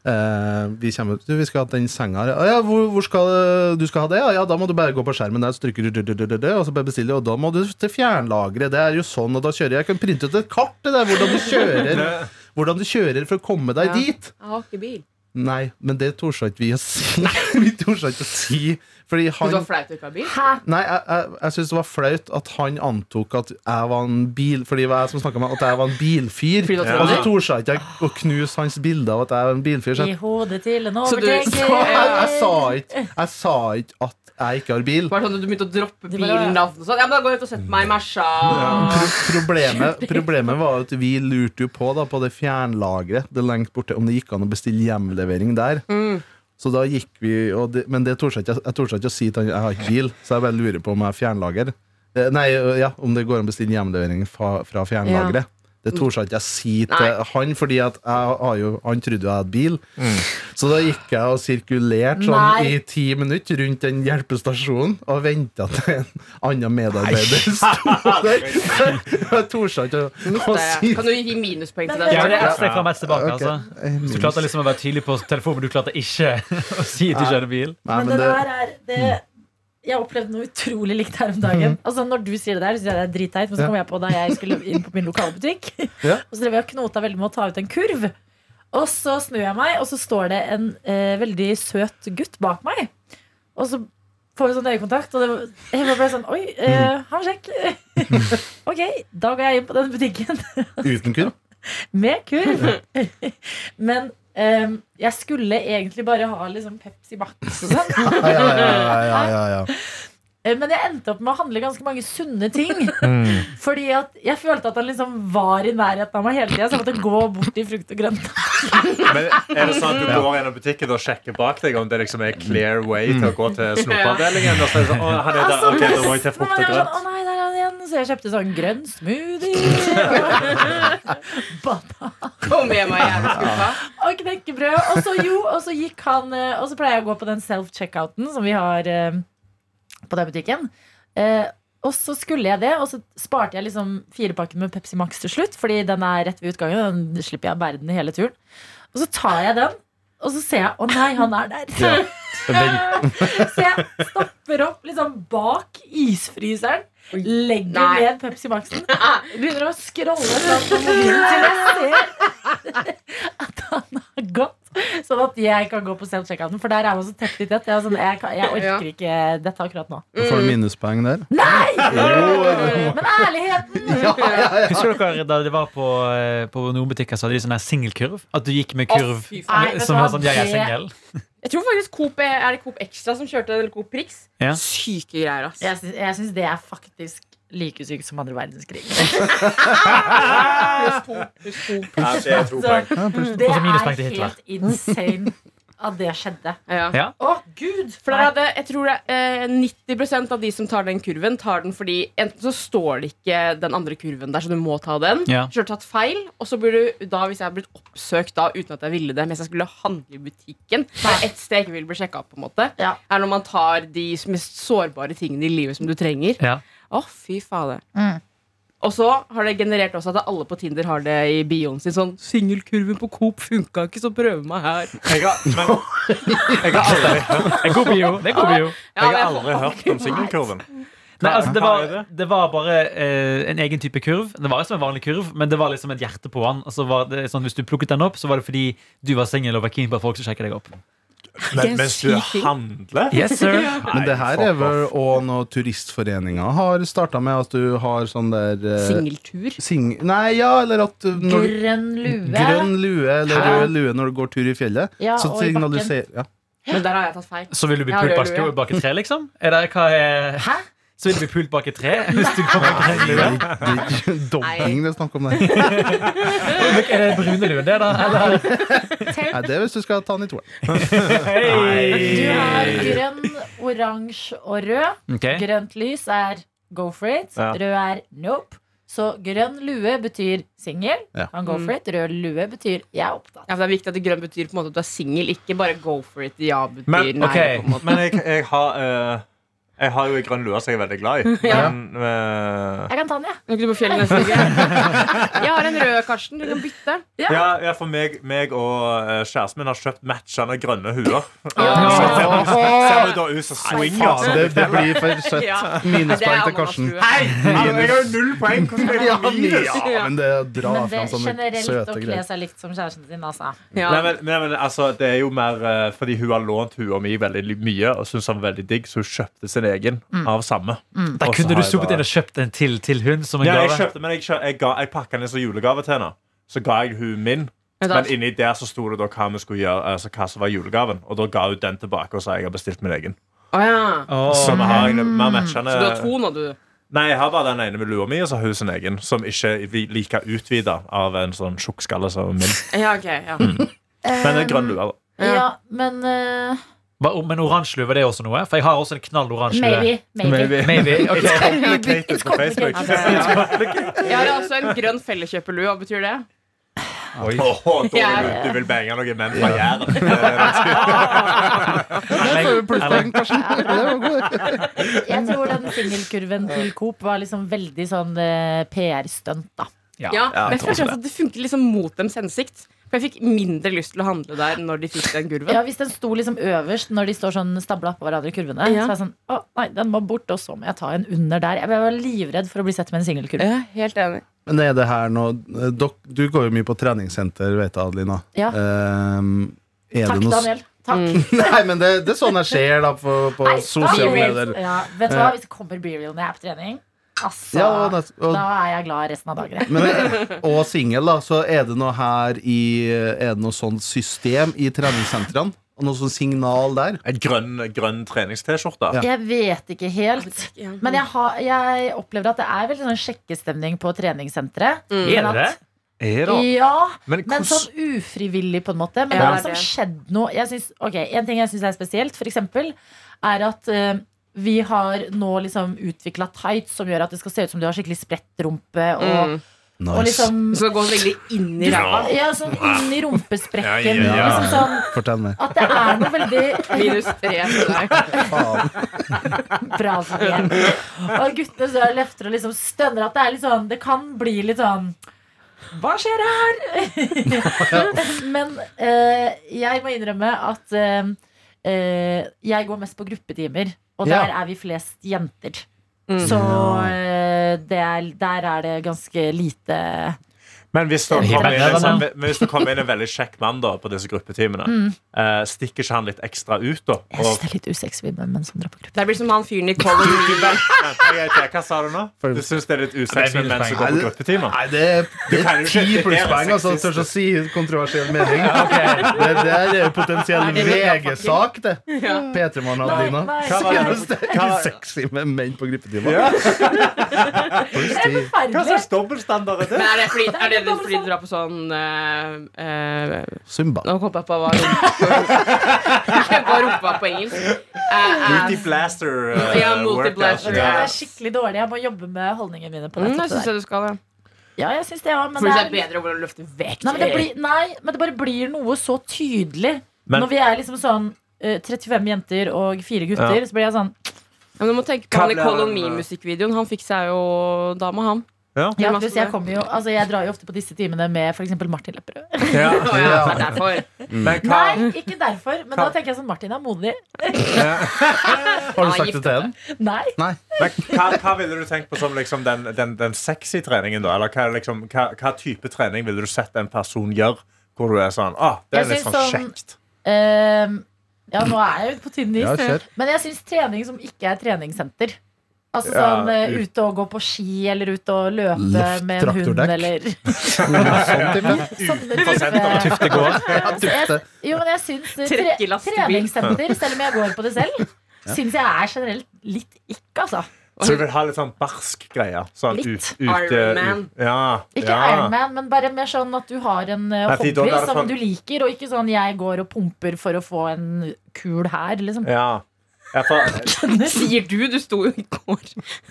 [SPEAKER 5] Eh, vi kommer du, Vi skal ha den senga her. «Å Ja, hvor, hvor skal eh, du skal ha det? Ja, ja, da må du bare gå på skjermen der, så trykker du, du, du, du, du, du, og så bare bestiller, og da må du til fjernlageret. Det er jo sånn, og da kjører jeg. Jeg kan printe ut et kart det der, hvordan du kjører Hvordan du kjører for å komme deg
[SPEAKER 4] Ja.
[SPEAKER 5] dit.
[SPEAKER 4] Jeg har ikke bil.
[SPEAKER 5] Nei, men det torde ikke vi å si. vi torde ikke å si. Fordi
[SPEAKER 4] Syns
[SPEAKER 5] han
[SPEAKER 4] det var flaut å ikke ha bil?
[SPEAKER 5] Nei, jeg, jeg, jeg syns det var flaut at han antok at jeg var en bil Fordi det var jeg som snakket med at jeg var en bilfyr.
[SPEAKER 4] Fordi du var
[SPEAKER 5] Og så
[SPEAKER 4] trolley?
[SPEAKER 5] torde jeg ikke å knuse hans bilde av at jeg var en bilfyr. Så
[SPEAKER 2] I
[SPEAKER 5] jeg,
[SPEAKER 2] hodet til en
[SPEAKER 4] Så du-
[SPEAKER 2] overtenker.
[SPEAKER 5] jeg, jeg, sa ikke, jeg sa ikke at jeg ikke har bil.
[SPEAKER 4] Bare sånn at du begynte å droppe
[SPEAKER 2] Det var-
[SPEAKER 4] bilnavn og sånn. Ja, men da går jeg ut og setter meg i Mersa.
[SPEAKER 5] Pro problemet, problemet var at vi lurte jo på da, på det fjernlageret det lengt borte, om det gikk an å bestille hjemlevering der. Så da gikk vi og det, Men det torde jeg ikke, jeg torde ikke å si til han jeg har ikke bil, så jeg bare lurer på om jeg har fjernlager. Eh, Nei, ja, om det går an å bestille hjemlevering fra, fra fjernlageret. Det torde jeg ikke å si til
[SPEAKER 4] Nei.
[SPEAKER 5] han, fordi at jeg har jo, han trodde jo jeg hadde bil. Så da gikk jeg og sirkulerte sånn
[SPEAKER 2] Nei.
[SPEAKER 5] i ti minutter rundt den hjelpestasjonen og venta til en annen medarbeider sto der. Jeg torde ikke å- å si
[SPEAKER 4] Kan du gi minuspoeng til
[SPEAKER 6] Ja, men det
[SPEAKER 4] den?
[SPEAKER 6] er ett steg fram, ett tilbake.
[SPEAKER 5] Ok.
[SPEAKER 6] Altså. Så du klarte liksom å være tydelig på telefonen, men du klarte ikke å si at du ikke hadde bil.
[SPEAKER 5] Nei,
[SPEAKER 2] Men
[SPEAKER 5] men
[SPEAKER 2] det
[SPEAKER 5] det, Mm.
[SPEAKER 2] der er det, Jeg opplevde noe utrolig likt her om dagen. Altså Når du sier det der, syns jeg det er dritteit. Men så
[SPEAKER 5] Ja.
[SPEAKER 2] kom jeg på da jeg skulle inn på min lokalbutikk.
[SPEAKER 5] Ja.
[SPEAKER 2] Og så drev jeg og knota veldig med å ta ut en kurv. Og så snur jeg meg, og så står det en eh, veldig søt gutt bak meg. Og så får vi sånn øyekontakt, og det, var- jeg bare ble sånn Oi, eh,
[SPEAKER 5] Mm.
[SPEAKER 2] ha en sjekk. ok, da går jeg inn på denne butikken
[SPEAKER 5] uten kurv.
[SPEAKER 2] med kurv. Men ehm, jeg skulle egentlig bare ha liksom Pepsi Max og sånn.
[SPEAKER 5] Ja, ja, ja, ja, ja, ja.
[SPEAKER 2] Eh, Men jeg endte opp med å handle ganske mange sunne ting. Fordi at jeg følte at han liksom var i nærheten av meg hele tida. Så jeg måtte gå bort i frukt og grønt.
[SPEAKER 3] Men er det sånn at du går gjennom butikken og sjekker bak deg om det liksom er clear way til å gå til snopeavdelingen? Og så er det sånn, å, han er der,
[SPEAKER 2] Altså,
[SPEAKER 3] ok, da må jeg til
[SPEAKER 2] nesten,
[SPEAKER 3] frukt
[SPEAKER 2] men jeg var
[SPEAKER 3] og
[SPEAKER 2] sånn, Å
[SPEAKER 3] grønt.
[SPEAKER 2] nei, der er han igjen. Så jeg kjøpte sånn grønn smoothie. Banan
[SPEAKER 4] Kom med meg, jævla skuffa.
[SPEAKER 2] og knekkebrød. Og så jo, og så gikk han eh, Og så pleier jeg å gå på den self-checkouten som vi har eh, på den butikken. Eh, og så skulle jeg det, og så sparte jeg liksom firepakken med Pepsi Max til slutt. Fordi den er rett ved utgangen. Den slipper jeg å bære den hele turen. Og så tar jeg den, og så ser jeg å nei, han er der.
[SPEAKER 5] Ja. Vel,
[SPEAKER 2] Så jeg stopper opp liksom bak isfryseren. Legger
[SPEAKER 4] Nei.
[SPEAKER 2] ned Pepsi Maxen. Begynner å scrolle fram på mobilen til jeg ser at han har gått. Sånn at jeg kan gå på self-checkouten, for der er man så tett i tett. Jeg, er sånn, jeg, kan, jeg
[SPEAKER 4] Ja.
[SPEAKER 2] orker ikke dette akkurat nå.
[SPEAKER 5] Får du minuspoeng der?
[SPEAKER 2] Men ærligheten!
[SPEAKER 6] Husker dere da det var på, eh, på noen butikker så hadde de sånn her singelkurv? At du gikk med
[SPEAKER 4] Å,
[SPEAKER 6] kurv
[SPEAKER 4] fy faen.
[SPEAKER 2] Nei,
[SPEAKER 6] med-
[SPEAKER 2] vet du
[SPEAKER 6] som var
[SPEAKER 2] hva?
[SPEAKER 6] sånn jeg er
[SPEAKER 2] Det-
[SPEAKER 6] singel?
[SPEAKER 4] Jeg tror faktisk Coop er, er det Coop Extra som kjørte, eller Coop Prix.
[SPEAKER 6] Ja.
[SPEAKER 4] Syke greier, ass.
[SPEAKER 2] Jeg syns, jeg syns det er faktisk like syk som andre verdenskrig.
[SPEAKER 4] Pluss to, pluss to.
[SPEAKER 3] Ja, det er to poeng.
[SPEAKER 2] Så det
[SPEAKER 6] Og så minuspoeng
[SPEAKER 2] er
[SPEAKER 6] til Hitler.
[SPEAKER 2] helt insane at det skjedde.
[SPEAKER 4] Ja.
[SPEAKER 6] Ja.
[SPEAKER 2] Å, gud!
[SPEAKER 4] For der hadde, jeg tror det er eh, 90 av de som tar den kurven, tar den fordi enten så står det ikke den andre kurven der, så du må ta den.
[SPEAKER 6] Ja.
[SPEAKER 4] Så har du tatt feil, og så burde du da, hvis jeg har blitt oppsøkt da uten at jeg ville det, mens jeg skulle handle i butikken Det er ett sted jeg ikke vil bli sjekka opp, på en måte.
[SPEAKER 2] Ja.
[SPEAKER 4] Er når man tar de mest sårbare tingene i livet som du trenger.
[SPEAKER 6] Ja.
[SPEAKER 4] Å, fy fader.
[SPEAKER 2] Mm.
[SPEAKER 4] Og så har det generert også at alle på Tinder har det i bioen sin. Sånn 'Singelkurven på Coop funka ikke, så prøv meg her'.
[SPEAKER 3] Jeg har, men, jeg har aldri hørt
[SPEAKER 6] Det er god bio. Det er god bio.
[SPEAKER 4] Ja,
[SPEAKER 3] Jeg har
[SPEAKER 4] men
[SPEAKER 3] aldri hørt om singelkurven.
[SPEAKER 6] Nei, altså, det,
[SPEAKER 3] Hva er
[SPEAKER 6] var,
[SPEAKER 3] det?
[SPEAKER 6] det var bare eh, en egen type kurv. Det var liksom en vanlig kurv, men det var liksom et hjerte på den. Og så var det sånn, hvis du plukket den opp, så var det fordi du var singel og var keen på at folk skulle sjekke deg opp.
[SPEAKER 3] Men, mens du handler?
[SPEAKER 6] Yes, sir.
[SPEAKER 5] Men det her
[SPEAKER 3] Nei,
[SPEAKER 5] er
[SPEAKER 3] fuck
[SPEAKER 5] vel
[SPEAKER 3] off.
[SPEAKER 5] òg noe turistforeninga har starta med, at du har sånn der eh,
[SPEAKER 4] Singeltur.
[SPEAKER 5] sing... Nei, ja, eller at du- når,
[SPEAKER 2] Grønn lue.
[SPEAKER 5] Grønn lue eller
[SPEAKER 2] Hæ?
[SPEAKER 5] rød lue når du går tur i fjellet.
[SPEAKER 2] Ja,
[SPEAKER 5] så
[SPEAKER 2] og i bakken.
[SPEAKER 5] signaliserer ja.
[SPEAKER 4] Men der har jeg tatt feil.
[SPEAKER 6] Så vil du bli
[SPEAKER 4] Ja, det
[SPEAKER 6] pult bak,
[SPEAKER 4] gjør du, ja.
[SPEAKER 6] bak et tre, liksom? Er det, hva er,
[SPEAKER 2] Hæ?
[SPEAKER 6] så vil du bli pult bak et tre? Hvis du går bak en lue.
[SPEAKER 5] Dobbing det er snakk om der.
[SPEAKER 6] Er det brune lue, det, da? Eller?
[SPEAKER 5] Nei, det er hvis du skal ta den i toeren.
[SPEAKER 2] Du har
[SPEAKER 6] Hei!
[SPEAKER 2] grønn, oransje og rød.
[SPEAKER 5] Eh.
[SPEAKER 6] Ok.
[SPEAKER 2] Grønt lys er go for it.
[SPEAKER 3] Ja.
[SPEAKER 2] Rød er nope. Så grønn lue betyr singel.
[SPEAKER 5] Ja.
[SPEAKER 2] Kan go for it. Rød lue betyr jeg er opptatt.
[SPEAKER 4] Ja, for Det er viktig at grønn betyr på en måte at du er singel, ikke bare go for it. Ja betyr
[SPEAKER 3] Men,
[SPEAKER 4] nei.
[SPEAKER 6] ok.
[SPEAKER 4] på en måte.
[SPEAKER 3] men jeg, jeg har eh, Jeg har jo en grønn lue som jeg er veldig glad i. Men eh,
[SPEAKER 2] Jeg kan ta den, jeg.
[SPEAKER 4] Kan ikke du på fjellet neste uke? Jeg har en rød, Karsten. Du kan bytte.
[SPEAKER 3] ja, ja, for meg, meg og eh, kjæresten min har kjøpt matchende grønne huer. Ser du da ut som swinger?
[SPEAKER 5] Faen, det, det blir for søtt.
[SPEAKER 4] Ja.
[SPEAKER 5] Minuspoeng til Karsten.
[SPEAKER 4] Hei!
[SPEAKER 3] Altså, jeg har jo null poeng. Hvordan skal
[SPEAKER 5] Ja,
[SPEAKER 3] jeg få minus?
[SPEAKER 5] men det å dra
[SPEAKER 2] Men det
[SPEAKER 5] fram sånne
[SPEAKER 2] generelt å
[SPEAKER 5] søte
[SPEAKER 2] kle
[SPEAKER 5] greier.
[SPEAKER 2] seg likt som kjæresten sin, altså.
[SPEAKER 4] Ja.
[SPEAKER 3] Nei, men, nei, men altså, Det er jo mer eh, fordi hun har lånt hua mi veldig li- mye og syntes han var veldig digg, så hun kjøpte sin egen
[SPEAKER 4] Mm.
[SPEAKER 3] av samme.
[SPEAKER 6] Da
[SPEAKER 3] Og så
[SPEAKER 6] kunne
[SPEAKER 3] har
[SPEAKER 6] du
[SPEAKER 3] jeg
[SPEAKER 6] soppet
[SPEAKER 3] bare-
[SPEAKER 6] inn og kjøpt en til til hun som en
[SPEAKER 3] Ja, jeg
[SPEAKER 6] gave.
[SPEAKER 3] kjøpte, men jeg, kjø, jeg, ga, jeg pakka den inn som julegave til henne. Så ga jeg hun min.
[SPEAKER 4] Men da-
[SPEAKER 3] Men inni der så sto det da hva vi skulle gjøre Altså hva som var julegaven. Og da ga hun den tilbake og sa jeg har bestilt min egen.
[SPEAKER 4] Å, ja.
[SPEAKER 3] Så
[SPEAKER 6] Åh.
[SPEAKER 3] vi har en mer matchende
[SPEAKER 4] Så du har to nå, du.
[SPEAKER 3] Nei, jeg har bare den ene med lua mi, og så har hun sin egen. Som ikke er vi- like utvida av en sånn tjukkskalle som min.
[SPEAKER 4] Ja, ok. Ja.
[SPEAKER 3] Men det er grønn lue. da.
[SPEAKER 4] Ja.
[SPEAKER 2] Ja, men eh,
[SPEAKER 6] Hva- Men oransje lue, var det også noe? For jeg har også en knall oransje lue.
[SPEAKER 2] maybe. maybe.
[SPEAKER 6] Maybe. ok.
[SPEAKER 3] Complicated på Facebook.
[SPEAKER 4] Ok, ja. Jeg har også en grønn felleskjøperlue. Hva betyr det?
[SPEAKER 3] Åh, da vil
[SPEAKER 4] Ja.
[SPEAKER 3] du, du vil bange noen menn Eh, fra Jæren.
[SPEAKER 5] Der får vi plusspoeng, Karsten. Det var god.
[SPEAKER 2] Jeg tror den singelkurven til Coop var liksom veldig sånn eh, PR-stunt, da.
[SPEAKER 6] Ja.
[SPEAKER 4] Ja,
[SPEAKER 3] Ja,
[SPEAKER 4] men
[SPEAKER 3] jeg
[SPEAKER 4] jeg føler
[SPEAKER 3] tror
[SPEAKER 4] at det funker liksom mot dems hensikt. For jeg fikk mindre lyst til å handle der når de fikk den kurven.
[SPEAKER 2] Ja, Hvis den sto liksom øverst når de står sånn stabla oppå hverandre i kurvene,
[SPEAKER 4] Ja.
[SPEAKER 2] så er jeg sånn Å, nei, den må bort, og så må jeg ta en under der. Jeg var livredd for å bli sett med en singelkurv.
[SPEAKER 4] Ja, helt enig.
[SPEAKER 5] Men er det her nå dok- Du går jo mye på treningssenter, vet jeg, Adelina.
[SPEAKER 2] Ja. Mm.
[SPEAKER 5] Ehm, er
[SPEAKER 2] Takk,
[SPEAKER 5] det noe s-
[SPEAKER 2] Daniel. Takk.
[SPEAKER 5] Nei, men det, det er sånn jeg ser da på, på
[SPEAKER 2] Nei,
[SPEAKER 5] sosiale
[SPEAKER 2] stabil.
[SPEAKER 5] medier.
[SPEAKER 2] Ja, vet du hva, hvis det kommer be real når jeg er på trening, altså,
[SPEAKER 5] Ja, og, nett- og
[SPEAKER 2] da er jeg glad resten av dagen. jeg.
[SPEAKER 5] Men, og singel, da. Så er det noe her i Er det noe sånt system i treningssentrene? Og noe sånt signal der?
[SPEAKER 3] En grønn, grønn trenings-T-skjorte.
[SPEAKER 5] Ja.
[SPEAKER 2] Jeg vet ikke helt. Men jeg, har, jeg opplever at det er veldig sånn sjekkestemning på treningssenteret.
[SPEAKER 6] Er det det?
[SPEAKER 3] Er det?
[SPEAKER 2] Ja,
[SPEAKER 3] Men
[SPEAKER 2] Men
[SPEAKER 3] hvordan-
[SPEAKER 2] sånn ufrivillig, på en måte. Men
[SPEAKER 4] Ja,
[SPEAKER 2] det
[SPEAKER 4] det
[SPEAKER 2] har
[SPEAKER 4] er
[SPEAKER 2] liksom
[SPEAKER 4] det.
[SPEAKER 2] skjedd noe. Jeg syns- ok, en ting jeg syns er spesielt, for eksempel, er at eh, vi har nå liksom utvikla tights som gjør at det skal se ut som du har skikkelig spredt rumpe. Og,
[SPEAKER 4] Mm.
[SPEAKER 2] og liksom
[SPEAKER 4] Så det går veldig inn i ræva.
[SPEAKER 2] ja, sånn inn i
[SPEAKER 3] Ja,
[SPEAKER 2] rumpesprekken.
[SPEAKER 3] ja, ja.
[SPEAKER 2] Liksom sånn
[SPEAKER 5] Fortell meg.
[SPEAKER 2] at det er noe veldig
[SPEAKER 4] Minus tre til deg.
[SPEAKER 5] Faen.
[SPEAKER 2] bra for meg. Og guttene så løfter og liksom stønner at det er litt sånn Det kan bli litt sånn Hva skjer her? Men eh, jeg må innrømme at eh, eh, jeg går mest på gruppetimer. Og der
[SPEAKER 5] Ja.
[SPEAKER 2] er vi flest jenter.
[SPEAKER 4] Mm.
[SPEAKER 2] Så eh, det er, der er det ganske lite
[SPEAKER 3] Men hvis det
[SPEAKER 6] Helt
[SPEAKER 3] kommer inn, en
[SPEAKER 6] annerledes,
[SPEAKER 3] sånn,
[SPEAKER 6] ja.
[SPEAKER 3] men hvis det kommer inn en veldig kjekk mann da, på disse gruppetimene, eh, stikker ikke han litt ekstra ut da?
[SPEAKER 2] Jeg synes det er litt usexy med menn som drar på gruppe.
[SPEAKER 4] Det blir som han fyren i Colin Bieber.
[SPEAKER 3] hva sa du nå? Du syns det er litt
[SPEAKER 6] Det
[SPEAKER 3] usexy
[SPEAKER 6] er
[SPEAKER 3] med menn som
[SPEAKER 6] minuspoeng.
[SPEAKER 3] går på gruppetimer?
[SPEAKER 5] Nei, det er, det
[SPEAKER 3] kan
[SPEAKER 5] er
[SPEAKER 3] jo ikke
[SPEAKER 5] ti
[SPEAKER 3] definere
[SPEAKER 5] plusspoeng, altså.
[SPEAKER 3] sexistisk.
[SPEAKER 5] Tør ikke å si kontroversiell mening. Det der er jo potensiell
[SPEAKER 4] det vil jeg
[SPEAKER 5] VG-sak, det.
[SPEAKER 4] Ja.
[SPEAKER 5] P3-mann
[SPEAKER 2] Nei,
[SPEAKER 5] Adelina.
[SPEAKER 2] nei.
[SPEAKER 5] Hva var det? Det er
[SPEAKER 3] Hva-
[SPEAKER 5] ikke sexy med menn på gruppetimer.
[SPEAKER 3] Ja.
[SPEAKER 5] Pluss
[SPEAKER 3] Hva
[SPEAKER 5] ti.
[SPEAKER 2] Forferdelig.
[SPEAKER 3] slags dobbeltstandard er det?
[SPEAKER 4] Men er det fordi, er det fordi du drar på sånn eh, eh,
[SPEAKER 5] Zumba.
[SPEAKER 4] Nå kom jeg på hva Hva rumpa på engelsk? Eh, ass.
[SPEAKER 3] Multi-blaster eh,
[SPEAKER 4] Ja,
[SPEAKER 3] workout.
[SPEAKER 4] multi-blaster,
[SPEAKER 2] Det
[SPEAKER 3] Ja.
[SPEAKER 2] er skikkelig dårlig. Jeg må jobbe med holdningene mine. på
[SPEAKER 4] Mm,
[SPEAKER 2] nettopp
[SPEAKER 4] det
[SPEAKER 2] det
[SPEAKER 4] syns
[SPEAKER 2] der.
[SPEAKER 4] jeg du skal. Ja.
[SPEAKER 2] Ja, jeg synes det, ja, men
[SPEAKER 4] Fordi det er
[SPEAKER 2] det er-
[SPEAKER 4] bedre å bare løfte vekt.
[SPEAKER 2] Nei, men
[SPEAKER 5] Eh.
[SPEAKER 2] det blir, nei, men det bare blir noe så tydelig.
[SPEAKER 3] Men-
[SPEAKER 2] Når vi er liksom sånn eh, 35 jenter og fire gutter, så blir jeg sånn
[SPEAKER 4] Ja, men du må tenke på han i
[SPEAKER 3] Kabler, eh,
[SPEAKER 4] Koloni-musikkvideoen. Han fikk seg jo dame, han.
[SPEAKER 3] Ja.
[SPEAKER 2] ja,
[SPEAKER 4] masse
[SPEAKER 2] pluss jeg,
[SPEAKER 4] det.
[SPEAKER 2] kommer jo, altså, jeg drar jo ofte på disse timene med f.eks. Martin Lepperød.
[SPEAKER 3] Ja.
[SPEAKER 4] Å ja, det er derfor.
[SPEAKER 3] Men hva
[SPEAKER 2] Nei, ikke derfor, men da tenker jeg sånn Martin er modig.
[SPEAKER 5] Har du
[SPEAKER 4] Ah,
[SPEAKER 5] sagt det
[SPEAKER 4] gift
[SPEAKER 5] til henne?
[SPEAKER 2] Nei.
[SPEAKER 3] Men hva, hva ville du tenkt på som liksom den, den, den sexy treningen, da? Eller hva, er liksom, hva, hva type trening ville du sett en person gjøre? Hvor du er sånn ah, Det er
[SPEAKER 2] Jeg
[SPEAKER 3] litt
[SPEAKER 2] synes
[SPEAKER 3] sånn
[SPEAKER 2] sånn-
[SPEAKER 3] kjekt.
[SPEAKER 2] Ehm, ja, nå er jeg jo på tynn is.
[SPEAKER 5] Ja, kjør.
[SPEAKER 2] men jeg syns trening som ikke er treningssenter. Altså
[SPEAKER 3] Ja,
[SPEAKER 2] sånn eh,
[SPEAKER 3] ut-
[SPEAKER 2] ute og gå på ski, eller ute og løpe
[SPEAKER 5] Løft
[SPEAKER 2] med en hund,
[SPEAKER 5] traktordekk.
[SPEAKER 2] eller
[SPEAKER 5] Sånn type.
[SPEAKER 2] sånne
[SPEAKER 3] Utenfor senteret.
[SPEAKER 2] type-
[SPEAKER 6] Tufte går.
[SPEAKER 5] Ja, tufte.
[SPEAKER 2] Jo, men Altså, jeg syns eh,
[SPEAKER 4] Trekk
[SPEAKER 2] tre,
[SPEAKER 4] i lastebil.
[SPEAKER 2] treningssenter, selv om jeg går på det selv, syns jeg er generelt litt ikke, altså.
[SPEAKER 3] Så du vil ha litt sånn barsk greie? Sånn
[SPEAKER 2] Litt.
[SPEAKER 3] ut, ut,
[SPEAKER 4] Iron Man.
[SPEAKER 3] ut- Ja.
[SPEAKER 2] Ikke
[SPEAKER 3] ja.
[SPEAKER 2] Ironman, men bare mer sånn at du har en eh,
[SPEAKER 3] Nei, fordi da
[SPEAKER 2] hobby
[SPEAKER 3] er det
[SPEAKER 2] som
[SPEAKER 3] sånn-
[SPEAKER 2] du liker, og ikke sånn 'jeg går og pumper for å få en kul her', liksom.
[SPEAKER 3] Ja. Ja, for,
[SPEAKER 4] Sier du, du sto jo i går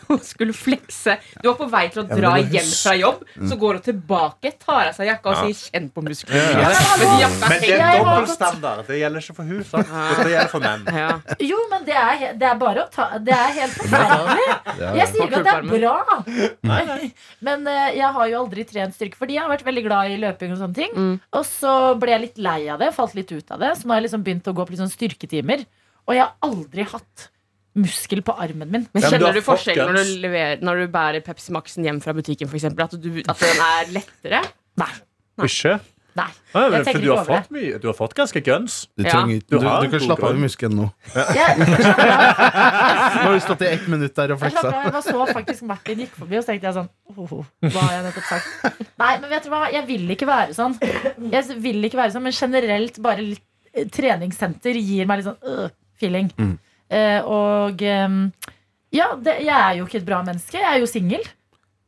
[SPEAKER 4] og skulle flekse. Du var på vei til å
[SPEAKER 5] men
[SPEAKER 4] dra
[SPEAKER 5] det må
[SPEAKER 4] hjem
[SPEAKER 5] huske-
[SPEAKER 4] fra jobb,
[SPEAKER 3] Mm.
[SPEAKER 4] så går hun tilbake, tar av seg jakka og sier 'kjenn på musklene'.
[SPEAKER 3] Ja.
[SPEAKER 4] Men jakka
[SPEAKER 3] men det er
[SPEAKER 2] Jeg
[SPEAKER 4] henger.
[SPEAKER 2] har gått- Ah.
[SPEAKER 3] dobbeltstandard. Det gjelder ikke for hun sant? Det gjelder for menn.
[SPEAKER 4] Ja.
[SPEAKER 2] Jo, men det er, he- det er bare å ta Det er helt forferdelig. Jeg sier ikke at det er bra, men eh, jeg har jo aldri trent styrke. Fordi jeg har vært veldig glad i løping og sånne ting.
[SPEAKER 4] Mm.
[SPEAKER 2] Og så ble jeg litt lei av det, falt litt ut av det. Så nå har jeg liksom begynt å gå på litt sånn styrketimer. Og jeg har aldri hatt muskel på armen min.
[SPEAKER 4] Men
[SPEAKER 3] Ja, men du har
[SPEAKER 4] kjenner du
[SPEAKER 3] fått
[SPEAKER 4] forskjell når
[SPEAKER 3] guts.
[SPEAKER 4] du, leverer, når du bærer Pepsi Max-en hjem fra butikken, f.eks.? At, du- at den er lettere?
[SPEAKER 2] Nei.
[SPEAKER 3] Ikke?
[SPEAKER 2] Nei.
[SPEAKER 3] Ja, men,
[SPEAKER 2] Jeg
[SPEAKER 3] for
[SPEAKER 2] tenker
[SPEAKER 3] du,
[SPEAKER 2] ikke
[SPEAKER 3] har
[SPEAKER 2] over det.
[SPEAKER 3] fått mye, du har fått ganske guns.
[SPEAKER 5] Du,
[SPEAKER 4] Ja.
[SPEAKER 5] trenger, ikke-
[SPEAKER 3] Du
[SPEAKER 5] du,
[SPEAKER 3] har
[SPEAKER 5] du
[SPEAKER 3] en
[SPEAKER 5] kan
[SPEAKER 3] god
[SPEAKER 5] slappe av i
[SPEAKER 3] grunn.
[SPEAKER 5] muskelen nå.
[SPEAKER 2] Jeg,
[SPEAKER 5] Nå har du stått i ett minutt der
[SPEAKER 2] Jeg
[SPEAKER 5] og
[SPEAKER 2] slapp
[SPEAKER 5] fleksa.
[SPEAKER 2] av, jeg bare så faktisk Martin gikk forbi, og så tenkte jeg sånn oh, oh, Hva har jeg nettopp sagt? Nei, men vet du hva, jeg vil ikke være sånn. Jeg vil ikke være sånn, Men generelt bare litt eh, treningssenter gir meg litt sånn øh, feeling.
[SPEAKER 3] Mm.
[SPEAKER 2] Eh, og ehm, ja, det, jeg er jo ikke et bra menneske. Jeg er jo singel.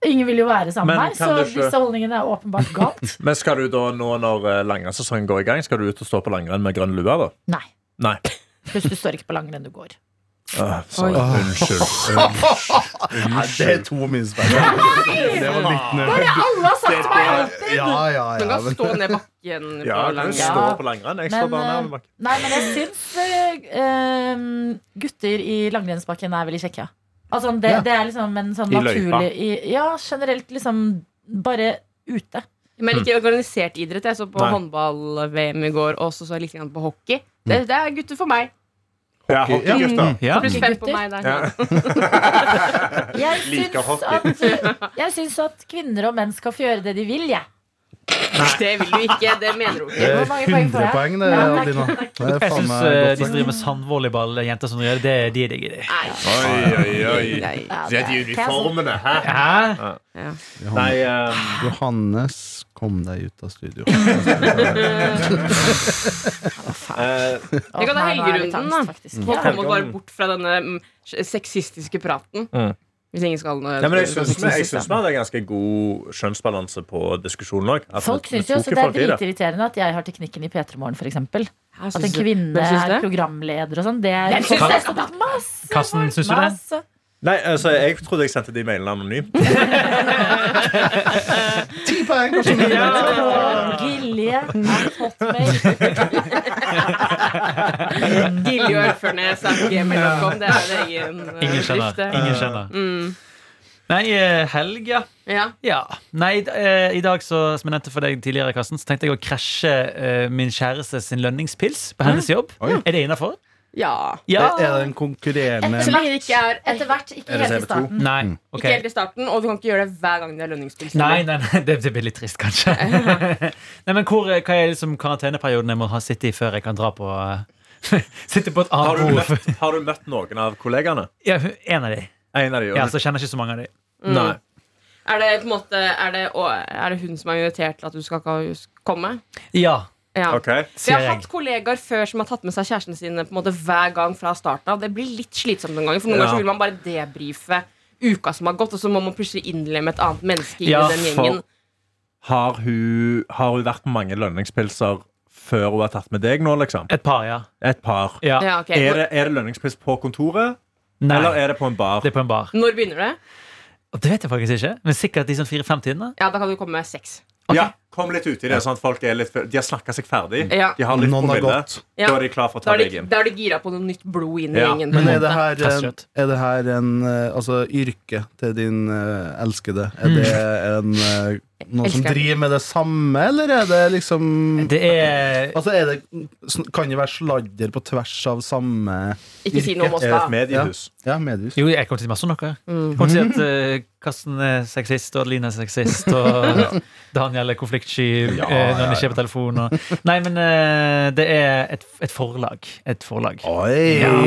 [SPEAKER 2] Ingen vil jo være sammen
[SPEAKER 3] Men
[SPEAKER 2] med meg,
[SPEAKER 3] kan
[SPEAKER 2] så
[SPEAKER 3] du ikke-
[SPEAKER 2] disse holdningene er åpenbart galt.
[SPEAKER 3] Men skal du da nå når eh, langrennssesongen går i gang, skal du ut og stå på langrenn med grønn lue, da?
[SPEAKER 2] Nei.
[SPEAKER 3] Nei.
[SPEAKER 2] Pluss du står ikke på langrenn du går.
[SPEAKER 3] Ah, sorry.
[SPEAKER 5] Oi.
[SPEAKER 3] Unnskyld.
[SPEAKER 5] Nei, det er to minuspoeng. Det var litt nødvendig.
[SPEAKER 2] Alle har sagt meg alt!
[SPEAKER 5] Ja, ja,
[SPEAKER 4] Du
[SPEAKER 5] ja.
[SPEAKER 4] kan
[SPEAKER 5] men-
[SPEAKER 4] stå ned bakken på
[SPEAKER 3] Ja, du
[SPEAKER 4] lang-
[SPEAKER 3] står på langrenn. Jeg
[SPEAKER 2] Men,
[SPEAKER 3] står bare
[SPEAKER 2] eh,
[SPEAKER 3] nærmere bak.
[SPEAKER 2] Nei, men jeg syns eh, eh, gutter i langrennsbakken er veldig kjekke. ja. Altså, det,
[SPEAKER 5] Ja.
[SPEAKER 2] det er liksom en sånn
[SPEAKER 3] I
[SPEAKER 2] naturlig
[SPEAKER 3] løypa.
[SPEAKER 2] i, Ja, generelt liksom bare ute.
[SPEAKER 4] Men ikke organisert idrett. Jeg så på
[SPEAKER 3] Nei.
[SPEAKER 4] håndball-VM i går, og så så jeg litt grann på hockey. Det, det er gutter for meg.
[SPEAKER 3] Ja, hockeygutter.
[SPEAKER 6] Ja.
[SPEAKER 4] Pluss fem på
[SPEAKER 2] Gutter?
[SPEAKER 4] meg der.
[SPEAKER 3] Ja.
[SPEAKER 2] Jeg
[SPEAKER 3] Liker
[SPEAKER 2] syns at, jeg syns at kvinner og menn skal få gjøre det de vil, jeg.
[SPEAKER 4] Det vil du ikke. Det mener du
[SPEAKER 5] Det
[SPEAKER 4] ikke.
[SPEAKER 5] er
[SPEAKER 2] Hvor mange poeng får
[SPEAKER 5] 100
[SPEAKER 2] jeg?
[SPEAKER 5] poeng, det,
[SPEAKER 2] Ja, takk,
[SPEAKER 5] Adelina. Det er
[SPEAKER 6] Jeg
[SPEAKER 5] faen
[SPEAKER 6] syns
[SPEAKER 5] meg
[SPEAKER 6] eh,
[SPEAKER 5] godt
[SPEAKER 6] de som
[SPEAKER 5] sagt.
[SPEAKER 6] driver med sandvolleyball, jenter som gjør det, det, de digger det.
[SPEAKER 4] Nei.
[SPEAKER 3] Oi, oi, oi.
[SPEAKER 4] Nei.
[SPEAKER 2] Ja,
[SPEAKER 3] Det er de
[SPEAKER 2] det-
[SPEAKER 3] uniformene, hæ?
[SPEAKER 6] Hæ?
[SPEAKER 3] Nei, ehm,
[SPEAKER 5] Johannes, kom deg ut av studio.
[SPEAKER 3] eh,
[SPEAKER 2] Åh,
[SPEAKER 4] Vi kan ta
[SPEAKER 2] nei, nå er jeg litt
[SPEAKER 4] helgerunden,
[SPEAKER 2] angst,
[SPEAKER 4] da.
[SPEAKER 2] faktisk.
[SPEAKER 4] Nå
[SPEAKER 2] Ja.
[SPEAKER 4] kommer vi bare bort fra denne mm, sexistiske praten.
[SPEAKER 3] Mm.
[SPEAKER 4] Hvis ingen skal eh,
[SPEAKER 3] Nei, men jeg
[SPEAKER 4] spørre
[SPEAKER 2] liksom
[SPEAKER 3] syns vi
[SPEAKER 4] sexistisk,
[SPEAKER 3] jeg syns vi hadde ganske god skjønnsbalanse på diskusjonen òg.
[SPEAKER 2] Folk syns jo også det er dritirriterende at jeg har teknikken i P3 Morgen, f.eks.
[SPEAKER 4] da.
[SPEAKER 2] At
[SPEAKER 4] Jeg
[SPEAKER 2] en
[SPEAKER 4] syns-
[SPEAKER 2] kvinne
[SPEAKER 4] Hvem syns
[SPEAKER 2] er
[SPEAKER 4] det?
[SPEAKER 2] programleder og sånn. Det er
[SPEAKER 4] Hvem syns det?
[SPEAKER 2] Sånn, masse
[SPEAKER 6] Karsten,
[SPEAKER 2] folk,
[SPEAKER 6] syns du det?
[SPEAKER 2] masse.
[SPEAKER 3] Nei, altså, jeg trodde jeg sendte de mailene anonymt.
[SPEAKER 5] Ti poeng! Karsten.
[SPEAKER 2] Gilje er hotmail.
[SPEAKER 4] Gilje og Ørfurnes er på gmail.com. Det er en egen eh,
[SPEAKER 6] Ingen
[SPEAKER 4] bedrift,
[SPEAKER 6] skjønner.
[SPEAKER 4] det.
[SPEAKER 6] Ingen skjønner.
[SPEAKER 4] Mm.
[SPEAKER 6] Nei, eh, helg, ja.
[SPEAKER 4] Ja.
[SPEAKER 6] Ja. Nei, d- eh, i dag, så, som jeg nevnte for deg tidligere, Karsten, så tenkte jeg å krasje eh, min kjæreste sin lønningspils på hennes jobb.
[SPEAKER 5] Oi.
[SPEAKER 6] Er det innafor?
[SPEAKER 4] Ja.
[SPEAKER 6] Ja.
[SPEAKER 5] Er det en konkurrerende
[SPEAKER 4] Så lenge det ikke er
[SPEAKER 2] Etter hvert, ikke
[SPEAKER 5] Er det
[SPEAKER 2] helt i
[SPEAKER 5] TV2?
[SPEAKER 2] starten.
[SPEAKER 6] Nei, ok.
[SPEAKER 4] Ikke helt i starten, og du kan ikke gjøre det hver gang det er lønningsspill.
[SPEAKER 6] Nei, nei, nei, det det blir litt trist, kanskje. nei, men hvor, Hva er liksom karanteneperioden jeg må ha sitte i før jeg kan dra på eh, Sitte på et
[SPEAKER 3] Har du,
[SPEAKER 6] annet bord?
[SPEAKER 3] møtt, har du møtt noen av kollegaene?
[SPEAKER 6] Ja, hun- en av de.
[SPEAKER 3] En av de,
[SPEAKER 6] Ja, så kjenner jeg ikke så mange av de.
[SPEAKER 3] Nei.
[SPEAKER 2] Mm.
[SPEAKER 4] Er det på en måte Er det, å, er det hun som er invitert til at du skal ikke komme?
[SPEAKER 6] Ja,
[SPEAKER 4] Ja.
[SPEAKER 3] Ok.
[SPEAKER 4] Så jeg
[SPEAKER 6] sier
[SPEAKER 4] har
[SPEAKER 6] jeg.
[SPEAKER 4] hatt kollegaer før som har tatt med seg kjærestene sine på en måte hver gang fra starten av. Det blir litt slitsomt noen ganger, for noen
[SPEAKER 3] Ja.
[SPEAKER 4] ganger så vil man bare debrife uka som har gått, og så må man plutselig innlemme et annet menneske inn
[SPEAKER 6] Ja,
[SPEAKER 4] i den gjengen.
[SPEAKER 3] for- Har hun, har hun vært på mange lønningspilser før hun har tatt med deg nå, liksom?
[SPEAKER 6] Et par, ja.
[SPEAKER 3] Et par.
[SPEAKER 6] ja.
[SPEAKER 4] Ja, ok.
[SPEAKER 3] Er
[SPEAKER 4] Når,
[SPEAKER 3] det, er det lønningspils på kontoret,
[SPEAKER 6] Nei,
[SPEAKER 3] eller er det på en bar?
[SPEAKER 6] det er på en bar.
[SPEAKER 4] når begynner det?
[SPEAKER 6] Og Det vet jeg faktisk ikke, men sikkert i sånn fire-fem-tiden.
[SPEAKER 4] Ja, da kan du komme med seks.
[SPEAKER 3] Ja, kom litt uti det, sånn at folk er litt De har snakka seg ferdig.
[SPEAKER 4] Ja.
[SPEAKER 3] De har litt
[SPEAKER 5] Noen har
[SPEAKER 3] promille.
[SPEAKER 5] gått.
[SPEAKER 4] Ja.
[SPEAKER 3] Da er de klar for å
[SPEAKER 4] Da
[SPEAKER 3] ta
[SPEAKER 4] er
[SPEAKER 3] deg
[SPEAKER 4] de,
[SPEAKER 3] inn.
[SPEAKER 4] da er de gira på noe nytt blod inn i
[SPEAKER 3] Ja.
[SPEAKER 4] gjengen. på
[SPEAKER 5] Men
[SPEAKER 4] en
[SPEAKER 5] er det
[SPEAKER 4] måte.
[SPEAKER 5] her, en,
[SPEAKER 6] Fastkjøtt.
[SPEAKER 5] er det her en eh, Altså yrket til din eh, elskede
[SPEAKER 6] Mm.
[SPEAKER 5] Er det en, eh, noen som
[SPEAKER 4] Elsker.
[SPEAKER 5] driver med det samme, eller er det liksom
[SPEAKER 6] Det er
[SPEAKER 5] Altså er det, sn- Kan det være sladder på tvers av samme
[SPEAKER 4] Ikke si noe om oss,
[SPEAKER 3] Er det et
[SPEAKER 4] da.
[SPEAKER 3] mediehus?
[SPEAKER 5] Ja, mediehus?
[SPEAKER 6] Jo, jeg kommer til å si masse om dere. Jeg kommer til å si at eh, Karsten er sexist, og Adeline er sexist, og Daniel er konfliktsky eh,
[SPEAKER 5] Ja,
[SPEAKER 6] når
[SPEAKER 5] ja,
[SPEAKER 6] han ikke er på telefon. Og... Nei, men eh, det er et, et forlag. Et forlag.
[SPEAKER 5] Oi!
[SPEAKER 6] Ja,
[SPEAKER 5] Ah,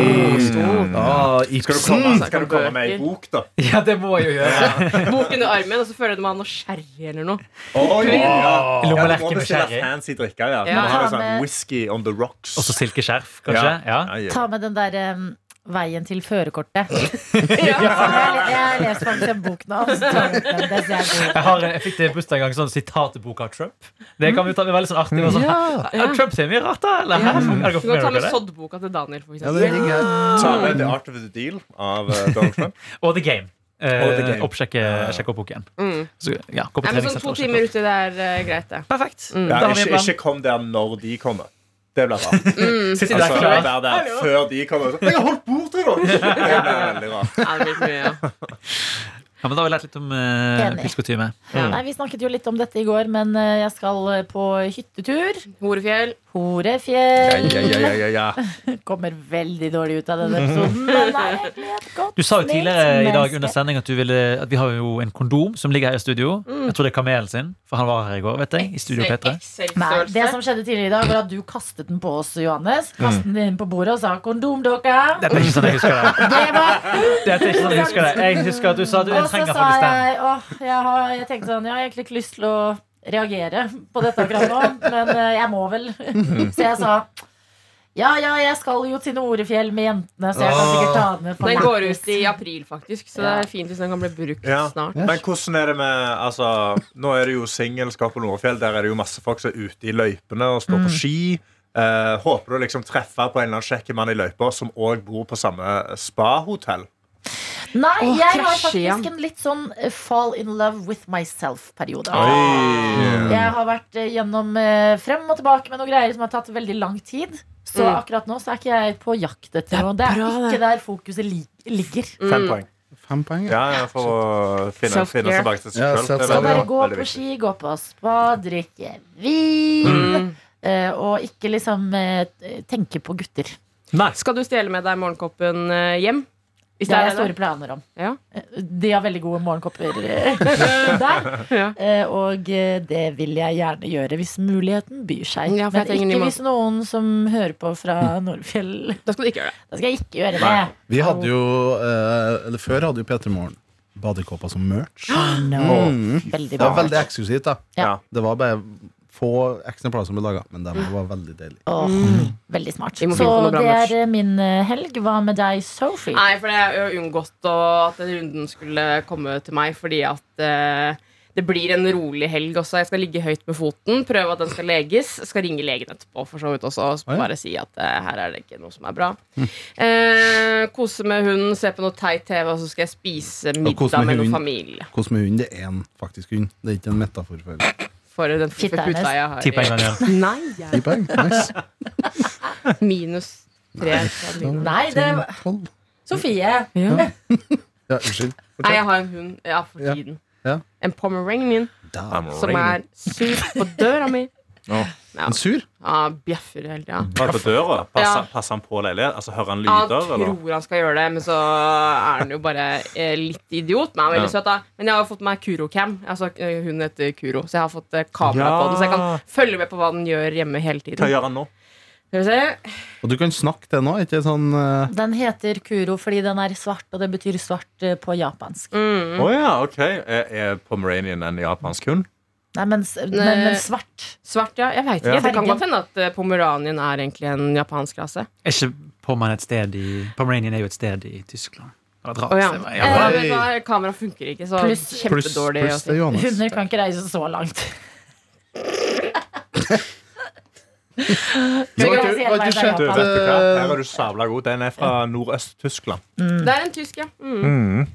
[SPEAKER 3] Mm. Skal du,
[SPEAKER 5] Ibsen!
[SPEAKER 3] komme, altså? skal du komme med ei bok, da?
[SPEAKER 6] Ja, det må jeg jo gjøre.
[SPEAKER 4] Bok under armen, og så føler du man har noe sherry eller noe.
[SPEAKER 3] Oi, ja. Ja, du må
[SPEAKER 6] Lommelerke med
[SPEAKER 3] bestille
[SPEAKER 6] sherry.
[SPEAKER 3] fancy drikker. Ja. Du
[SPEAKER 4] Ja.
[SPEAKER 3] må ha
[SPEAKER 2] Ta
[SPEAKER 3] det
[SPEAKER 2] med-
[SPEAKER 3] sånn whisky on the rocks.
[SPEAKER 6] Og så silkeskjerf, kanskje. Ja.
[SPEAKER 3] Ja, ja.
[SPEAKER 2] Ta med den der em, veien til førerkortet.
[SPEAKER 4] Ja.
[SPEAKER 2] Jeg, jeg leser faktisk en bok nå. Så tar jeg ut den. Det ser jeg god.
[SPEAKER 6] Jeg, har, jeg fikk til bursdag en gang sånn sitat i boka av Trump. Det kan vi ta det er veldig sånn artig. det var Sånn, ja, Trump sier mye rart, da. Eller, her, er det
[SPEAKER 4] Du kan ta sånn- med
[SPEAKER 6] det?
[SPEAKER 4] soddboka til Daniel, for
[SPEAKER 5] Ja, det er
[SPEAKER 4] eksempel.
[SPEAKER 5] digg.
[SPEAKER 3] Ta med The Art of the Deal av eh, Donald Trump.
[SPEAKER 6] Og The Game. Eh,
[SPEAKER 3] Og The Game.
[SPEAKER 6] Oppsjekke sjekk opp boken.
[SPEAKER 4] Mm.
[SPEAKER 6] Så, ja, gå på
[SPEAKER 4] Nei, men sånn
[SPEAKER 6] treningssenter
[SPEAKER 4] to
[SPEAKER 6] og sjekk
[SPEAKER 4] timer
[SPEAKER 6] opp.
[SPEAKER 4] uti, det er eh, greit, det.
[SPEAKER 6] Perfekt.
[SPEAKER 4] Mm.
[SPEAKER 6] Da
[SPEAKER 3] Ja,
[SPEAKER 6] har vi en
[SPEAKER 3] ikke,
[SPEAKER 6] plan.
[SPEAKER 3] ikke kom der når de kommer. Det blir rart. Altså,
[SPEAKER 6] Sitter der klar.
[SPEAKER 3] vær der før de kommer. Så, Jeg har holdt bord til dere! Det blir veldig rart.
[SPEAKER 4] Ja, det blir mye, ja.
[SPEAKER 6] Ja, men Da har vi lært litt om uh,
[SPEAKER 2] Enig.
[SPEAKER 6] pysjkotyme.
[SPEAKER 2] Nei, vi snakket jo litt om dette i går, men eh, jeg skal eh, på hyttetur.
[SPEAKER 4] Horefjell.
[SPEAKER 3] Ja,
[SPEAKER 2] Horefjell.
[SPEAKER 3] ja, ja, ja, ja.
[SPEAKER 2] Kommer veldig dårlig ut av denne episoden. Men det er egentlig et godt
[SPEAKER 6] Du sa jo
[SPEAKER 2] snilt
[SPEAKER 6] tidligere i dag
[SPEAKER 2] menneske.
[SPEAKER 6] under sending at, du ville, at vi har jo en kondom som ligger her i studio. Jeg tror det er kamelen sin, for han var her i går. vet jeg I studio P3
[SPEAKER 2] Nei, det sånn
[SPEAKER 4] XL-størrelse.
[SPEAKER 2] som skjedde tidligere i dag, var at du kastet den på oss, Johannes. Kastet den inn på bordet og sa 'kondom, dere'.
[SPEAKER 6] Dette er ikke sånn jeg husker det.
[SPEAKER 2] Det var
[SPEAKER 6] Dette er ikke sånn Jeg husker det Jeg husker at du sa at du
[SPEAKER 2] Og så
[SPEAKER 6] trenger
[SPEAKER 2] sa
[SPEAKER 6] faktisk den.
[SPEAKER 2] jeg åh, jeg, har, jeg tenkte sånn, jeg har egentlig ikke lyst til å reagere på dette akkurat nå, men eh, jeg må vel. Så jeg sa ja, ja, jeg skal jo til Norefjell med jentene, så jeg kan sikkert ta den med. for
[SPEAKER 4] Den
[SPEAKER 2] meg».
[SPEAKER 4] går ut i april, faktisk, så det
[SPEAKER 2] Ja.
[SPEAKER 4] er fint hvis den kan bli brukt
[SPEAKER 3] Ja.
[SPEAKER 4] snart.
[SPEAKER 3] Men hvordan er det med altså, Nå er det jo singel, skal på Nordfjell. Der er det jo masse folk som er ute i løypene og
[SPEAKER 5] Mm.
[SPEAKER 3] står på ski. Eh, håper du liksom treffer på en eller annen kjekk mann i løypa som òg bor på samme spahotell?
[SPEAKER 2] Nei,
[SPEAKER 4] Åh,
[SPEAKER 2] jeg har
[SPEAKER 4] krasje
[SPEAKER 2] faktisk
[SPEAKER 4] igjen.
[SPEAKER 2] en litt sånn eh, fall in love with myself-periode.
[SPEAKER 3] Oi.
[SPEAKER 5] Mm.
[SPEAKER 2] Jeg har vært eh, gjennom eh, frem og tilbake med noen greier som har tatt veldig lang tid. Så
[SPEAKER 4] Mm.
[SPEAKER 2] akkurat nå så er ikke jeg på jakt etter noe. Det er
[SPEAKER 4] bra,
[SPEAKER 2] ikke der fokuset li ligger.
[SPEAKER 3] Fem poeng.
[SPEAKER 5] Fem poeng. ja.
[SPEAKER 3] Ja, ja, for å finne,
[SPEAKER 4] Self-care.
[SPEAKER 3] finne tilbake til
[SPEAKER 5] Ja,
[SPEAKER 3] seg
[SPEAKER 2] Så
[SPEAKER 3] sjøl.
[SPEAKER 5] self-care.
[SPEAKER 2] bare gå
[SPEAKER 3] Veldig
[SPEAKER 2] på
[SPEAKER 3] viktig.
[SPEAKER 2] ski, gå på spa, drikke vin.
[SPEAKER 4] Mm.
[SPEAKER 2] eh, Og ikke liksom eh, tenke på gutter.
[SPEAKER 4] Skal du stjele med deg morgenkoppen eh, hjem? Hvis
[SPEAKER 2] Det
[SPEAKER 4] det
[SPEAKER 2] har jeg
[SPEAKER 4] er
[SPEAKER 2] store
[SPEAKER 4] det.
[SPEAKER 2] planer om.
[SPEAKER 4] Ja.
[SPEAKER 2] Eh, De har veldig gode morgenkopper eh, der.
[SPEAKER 4] Ja.
[SPEAKER 2] eh, Og eh, det vil jeg gjerne gjøre hvis muligheten byr seg.
[SPEAKER 4] Ja, for jeg
[SPEAKER 2] Men
[SPEAKER 4] trenger ny
[SPEAKER 2] ikke
[SPEAKER 4] mat.
[SPEAKER 2] hvis noen som hører på fra Nordfjell
[SPEAKER 4] Da skal du ikke gjøre det.
[SPEAKER 2] Da skal jeg ikke gjøre det.
[SPEAKER 3] Nei.
[SPEAKER 5] Vi hadde jo eh, Eller før hadde jo P3 Morgen badekåper som merch.
[SPEAKER 2] No. Veldig
[SPEAKER 5] Det var
[SPEAKER 2] bra.
[SPEAKER 5] veldig eksklusivt, da.
[SPEAKER 2] Ja.
[SPEAKER 5] Det var bare få eksemplarer som ble laga, men de var veldig deilige.
[SPEAKER 2] Åh, Veldig smart.
[SPEAKER 4] Mm. Vi må
[SPEAKER 2] Så
[SPEAKER 4] finne på noe bra
[SPEAKER 2] det
[SPEAKER 4] merch.
[SPEAKER 2] er eh, min eh, helg. Hva med deg, Sophie?
[SPEAKER 4] Nei, for det er jo unngått å, at den runden skulle komme til meg, fordi at eh, det blir en rolig helg også. Jeg skal ligge høyt med foten, prøve at den skal leges. Skal ringe legen etterpå for så vidt også, og
[SPEAKER 5] Å, ja.
[SPEAKER 4] bare si at eh, her er det ikke noe som er bra. Eh, kose med hunden, se på noe teit TV, og så skal jeg spise
[SPEAKER 5] kose
[SPEAKER 4] middag
[SPEAKER 5] med
[SPEAKER 4] med noen
[SPEAKER 5] hunden.
[SPEAKER 4] familie.
[SPEAKER 5] Hvordan med hund? Det er en faktisk hund. Det er ikke en metafor for
[SPEAKER 4] For den
[SPEAKER 2] Fitte
[SPEAKER 4] puta
[SPEAKER 2] er nest.
[SPEAKER 4] jeg har.
[SPEAKER 6] Ti poeng, Daniel.
[SPEAKER 4] Nei,
[SPEAKER 5] Ti
[SPEAKER 4] jeg-
[SPEAKER 5] poeng. Nice.
[SPEAKER 4] minus tre. fra min.
[SPEAKER 5] Sånn.
[SPEAKER 2] Nei, det
[SPEAKER 5] Tolv.
[SPEAKER 2] Sofie.
[SPEAKER 5] Ja, unnskyld.
[SPEAKER 4] Nei, jeg har en hund ja, for
[SPEAKER 5] Ja.
[SPEAKER 4] tiden.
[SPEAKER 5] Ja.
[SPEAKER 4] En pomeranian
[SPEAKER 5] Da.
[SPEAKER 4] som er sur på døra mi. Ja.
[SPEAKER 5] Men sur?
[SPEAKER 4] Ja, bjeffer hele tida.
[SPEAKER 7] Bare på døra. Passer,
[SPEAKER 4] Ja.
[SPEAKER 7] passer han på leilighet? Altså, hører han
[SPEAKER 4] Han
[SPEAKER 7] lyder? Eller?
[SPEAKER 4] tror han skal gjøre det, men så er han jo bare eh, litt idiot. Men han er veldig søt, da. Men jeg har fått meg Kurocam. Altså, eh, hun heter Kuro, så jeg har fått eh, kamera
[SPEAKER 7] Ja.
[SPEAKER 4] på den. Så jeg kan følge med på hva den gjør hjemme hele tiden.
[SPEAKER 7] Hva gjør han nå?
[SPEAKER 4] Skal vi se.
[SPEAKER 5] Og du kan snakke til nå, ikke sånn eh,
[SPEAKER 2] Den heter Kuro fordi den er svart, og det betyr svart eh, på japansk.
[SPEAKER 4] Mm.
[SPEAKER 7] Å ja, ok. Er, er Pomeranian en japansk hund?
[SPEAKER 2] Nei, men, s- men, men svart.
[SPEAKER 4] Svart, ja. Jeg veit ikke.
[SPEAKER 7] Ja.
[SPEAKER 4] Det kan
[SPEAKER 2] Fargen.
[SPEAKER 4] godt hende at eh, pomeranien er egentlig en japansk rase.
[SPEAKER 6] Er ikke Pommern et sted i Pomeranian er jo et sted i Tyskland. Det var et rart
[SPEAKER 4] Å ja.
[SPEAKER 6] sted, men
[SPEAKER 4] Eh,
[SPEAKER 6] ja.
[SPEAKER 4] vet du hva, Kamera funker ikke, så
[SPEAKER 2] Pluss-
[SPEAKER 5] Pluss
[SPEAKER 4] kjempedårlig. å
[SPEAKER 5] pluss
[SPEAKER 4] si.
[SPEAKER 5] til Johannes.
[SPEAKER 2] Hunder kan ikke reise så langt.
[SPEAKER 5] Du har
[SPEAKER 2] Skal vi
[SPEAKER 5] ikke, har
[SPEAKER 2] si
[SPEAKER 5] ikke
[SPEAKER 2] hele veien
[SPEAKER 5] sett
[SPEAKER 2] fra
[SPEAKER 3] Du, vet du hva? Her
[SPEAKER 5] eh,
[SPEAKER 3] er du sabla god. Den er fra Nordøst-Tyskland.
[SPEAKER 4] Det er en tysk, ja. Mm.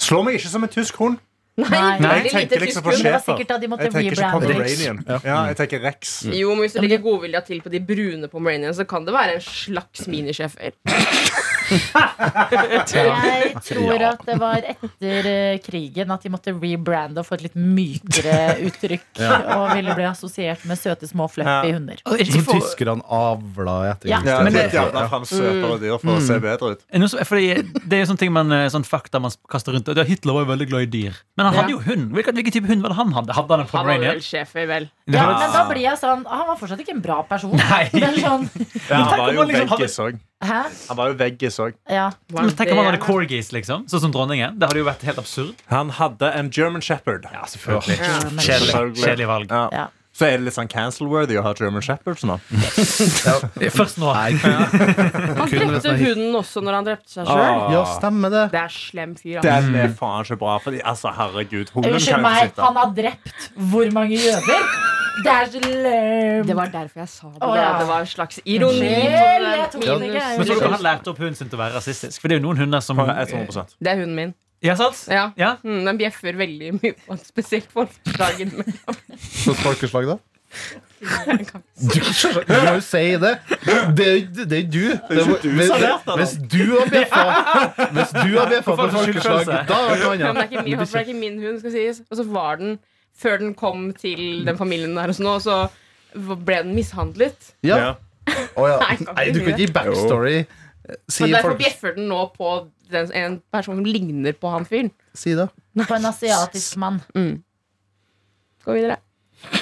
[SPEAKER 3] Slår meg ikke som en tysk hund.
[SPEAKER 2] Nei,
[SPEAKER 7] Nei,
[SPEAKER 4] veldig
[SPEAKER 7] jeg
[SPEAKER 4] lite
[SPEAKER 7] tenker liksom på
[SPEAKER 4] tysk hund.
[SPEAKER 2] Det var
[SPEAKER 3] Schæfer.
[SPEAKER 2] sikkert da de måtte
[SPEAKER 3] Jeg tenker ikke
[SPEAKER 2] rebrande.
[SPEAKER 3] Pomeranian. Ja, jeg tenker Rex.
[SPEAKER 6] Mm.
[SPEAKER 4] Jo, men hvis du
[SPEAKER 2] men
[SPEAKER 4] legger godvilja til på de brune pomeraniene, så kan det være en slags minisjefer.
[SPEAKER 2] Jeg tror at det var etter eh, krigen at de måtte rebrande og få et litt mykere uttrykk. Og ville bli assosiert med søte, små, fluffy
[SPEAKER 3] Ja.
[SPEAKER 2] hunder.
[SPEAKER 6] Og er det
[SPEAKER 5] Som
[SPEAKER 6] ikke for-
[SPEAKER 5] tyskerne avla i
[SPEAKER 2] Ja.
[SPEAKER 5] etterkant.
[SPEAKER 3] Ja,
[SPEAKER 6] Men
[SPEAKER 3] men
[SPEAKER 6] det-
[SPEAKER 3] det er fram søtere dyr for å se bedre ut.
[SPEAKER 6] er det noe som- Fordi det er jo sånne ting man, eh, sånn fakta man kaster rundt. Og det er Hitler var jo veldig glad i dyr. Men han
[SPEAKER 4] Ja.
[SPEAKER 6] hadde jo hund. Hvilken, hvilken type hund var det han hadde? Hadde han en
[SPEAKER 4] Han var vel
[SPEAKER 6] Pomeranian?
[SPEAKER 4] schæfer, vel.
[SPEAKER 2] Ja, men da blir jeg sånn Han var fortsatt ikke en bra person.
[SPEAKER 6] Nei.
[SPEAKER 2] Men sånn,
[SPEAKER 3] Ja, han var
[SPEAKER 6] om
[SPEAKER 3] jo
[SPEAKER 6] han liksom hadde-
[SPEAKER 3] veggis òg.
[SPEAKER 2] hæ?
[SPEAKER 3] Han var jo veggis òg.
[SPEAKER 2] Ja.
[SPEAKER 6] Men Tenk om han hadde corgis, liksom. Sånn som dronningen. Det hadde jo vært helt absurd.
[SPEAKER 3] Han hadde en German Shepherd.
[SPEAKER 6] Ja, selvfølgelig.
[SPEAKER 2] Ja, men-
[SPEAKER 6] Kjedelig, kjedelig valg.
[SPEAKER 3] Ja.
[SPEAKER 2] Ja.
[SPEAKER 3] Så er det litt sånn cancel-worthy å ha German Shepherds nå.
[SPEAKER 6] Først nå.
[SPEAKER 5] Nei,
[SPEAKER 4] Han
[SPEAKER 5] kun hvis
[SPEAKER 6] sånn
[SPEAKER 4] drepte
[SPEAKER 5] han gikk-
[SPEAKER 4] hunden også når han drepte seg
[SPEAKER 6] Ah.
[SPEAKER 4] sjøl.
[SPEAKER 5] Ja, stemmer det.
[SPEAKER 4] Det er slem fyr. Altså.
[SPEAKER 3] Den er faen ikke bra, Fordi, altså, herregud, hunden kan
[SPEAKER 2] Unnskyld
[SPEAKER 3] jo
[SPEAKER 2] meg,
[SPEAKER 3] sitte
[SPEAKER 2] han har drept hvor mange jøder? Det er så
[SPEAKER 4] Det
[SPEAKER 2] lame.
[SPEAKER 4] var derfor jeg sa
[SPEAKER 2] Å,
[SPEAKER 4] det. da.
[SPEAKER 2] ja.
[SPEAKER 4] Det var en slags ironi.
[SPEAKER 2] Unnskyld, jeg tok den ikke.
[SPEAKER 6] Men tror dere
[SPEAKER 4] Minus-
[SPEAKER 6] han lærte opp hunden sin til å være rasistisk? For det er jo noen hunder som
[SPEAKER 3] på 100
[SPEAKER 4] Det er hunden min.
[SPEAKER 6] Ja, sant?
[SPEAKER 4] Ja.
[SPEAKER 6] Ja.
[SPEAKER 4] Mm, den bjeffer veldig mye, på en spesielt på dagen.
[SPEAKER 5] Så folkeslag, da? Du, du må jo si det. Det er jo ikke- det er ikke du. Det var- hvis, hvis du har bjeffa Hvis du har bjeffa på
[SPEAKER 6] For faen,
[SPEAKER 5] folkeslag,
[SPEAKER 6] skyldfølelse.
[SPEAKER 5] da er det noe
[SPEAKER 4] Men det
[SPEAKER 5] annet.
[SPEAKER 4] er ikke min, for det er ikke min hund, skal sies. Og så var den, før den kom til den familien der og sånn, og så ble den mishandlet.
[SPEAKER 5] Ja.
[SPEAKER 3] Ja.
[SPEAKER 5] Å, ja.
[SPEAKER 4] Nei, kan ikke
[SPEAKER 5] Nei, du kan ikke gi backstory. Si,
[SPEAKER 4] Men derfor
[SPEAKER 5] folk,
[SPEAKER 4] bjeffer den nå på den, en person som ligner på han fyren.
[SPEAKER 5] si det.
[SPEAKER 2] På en asiatisk mann.
[SPEAKER 4] Gå videre.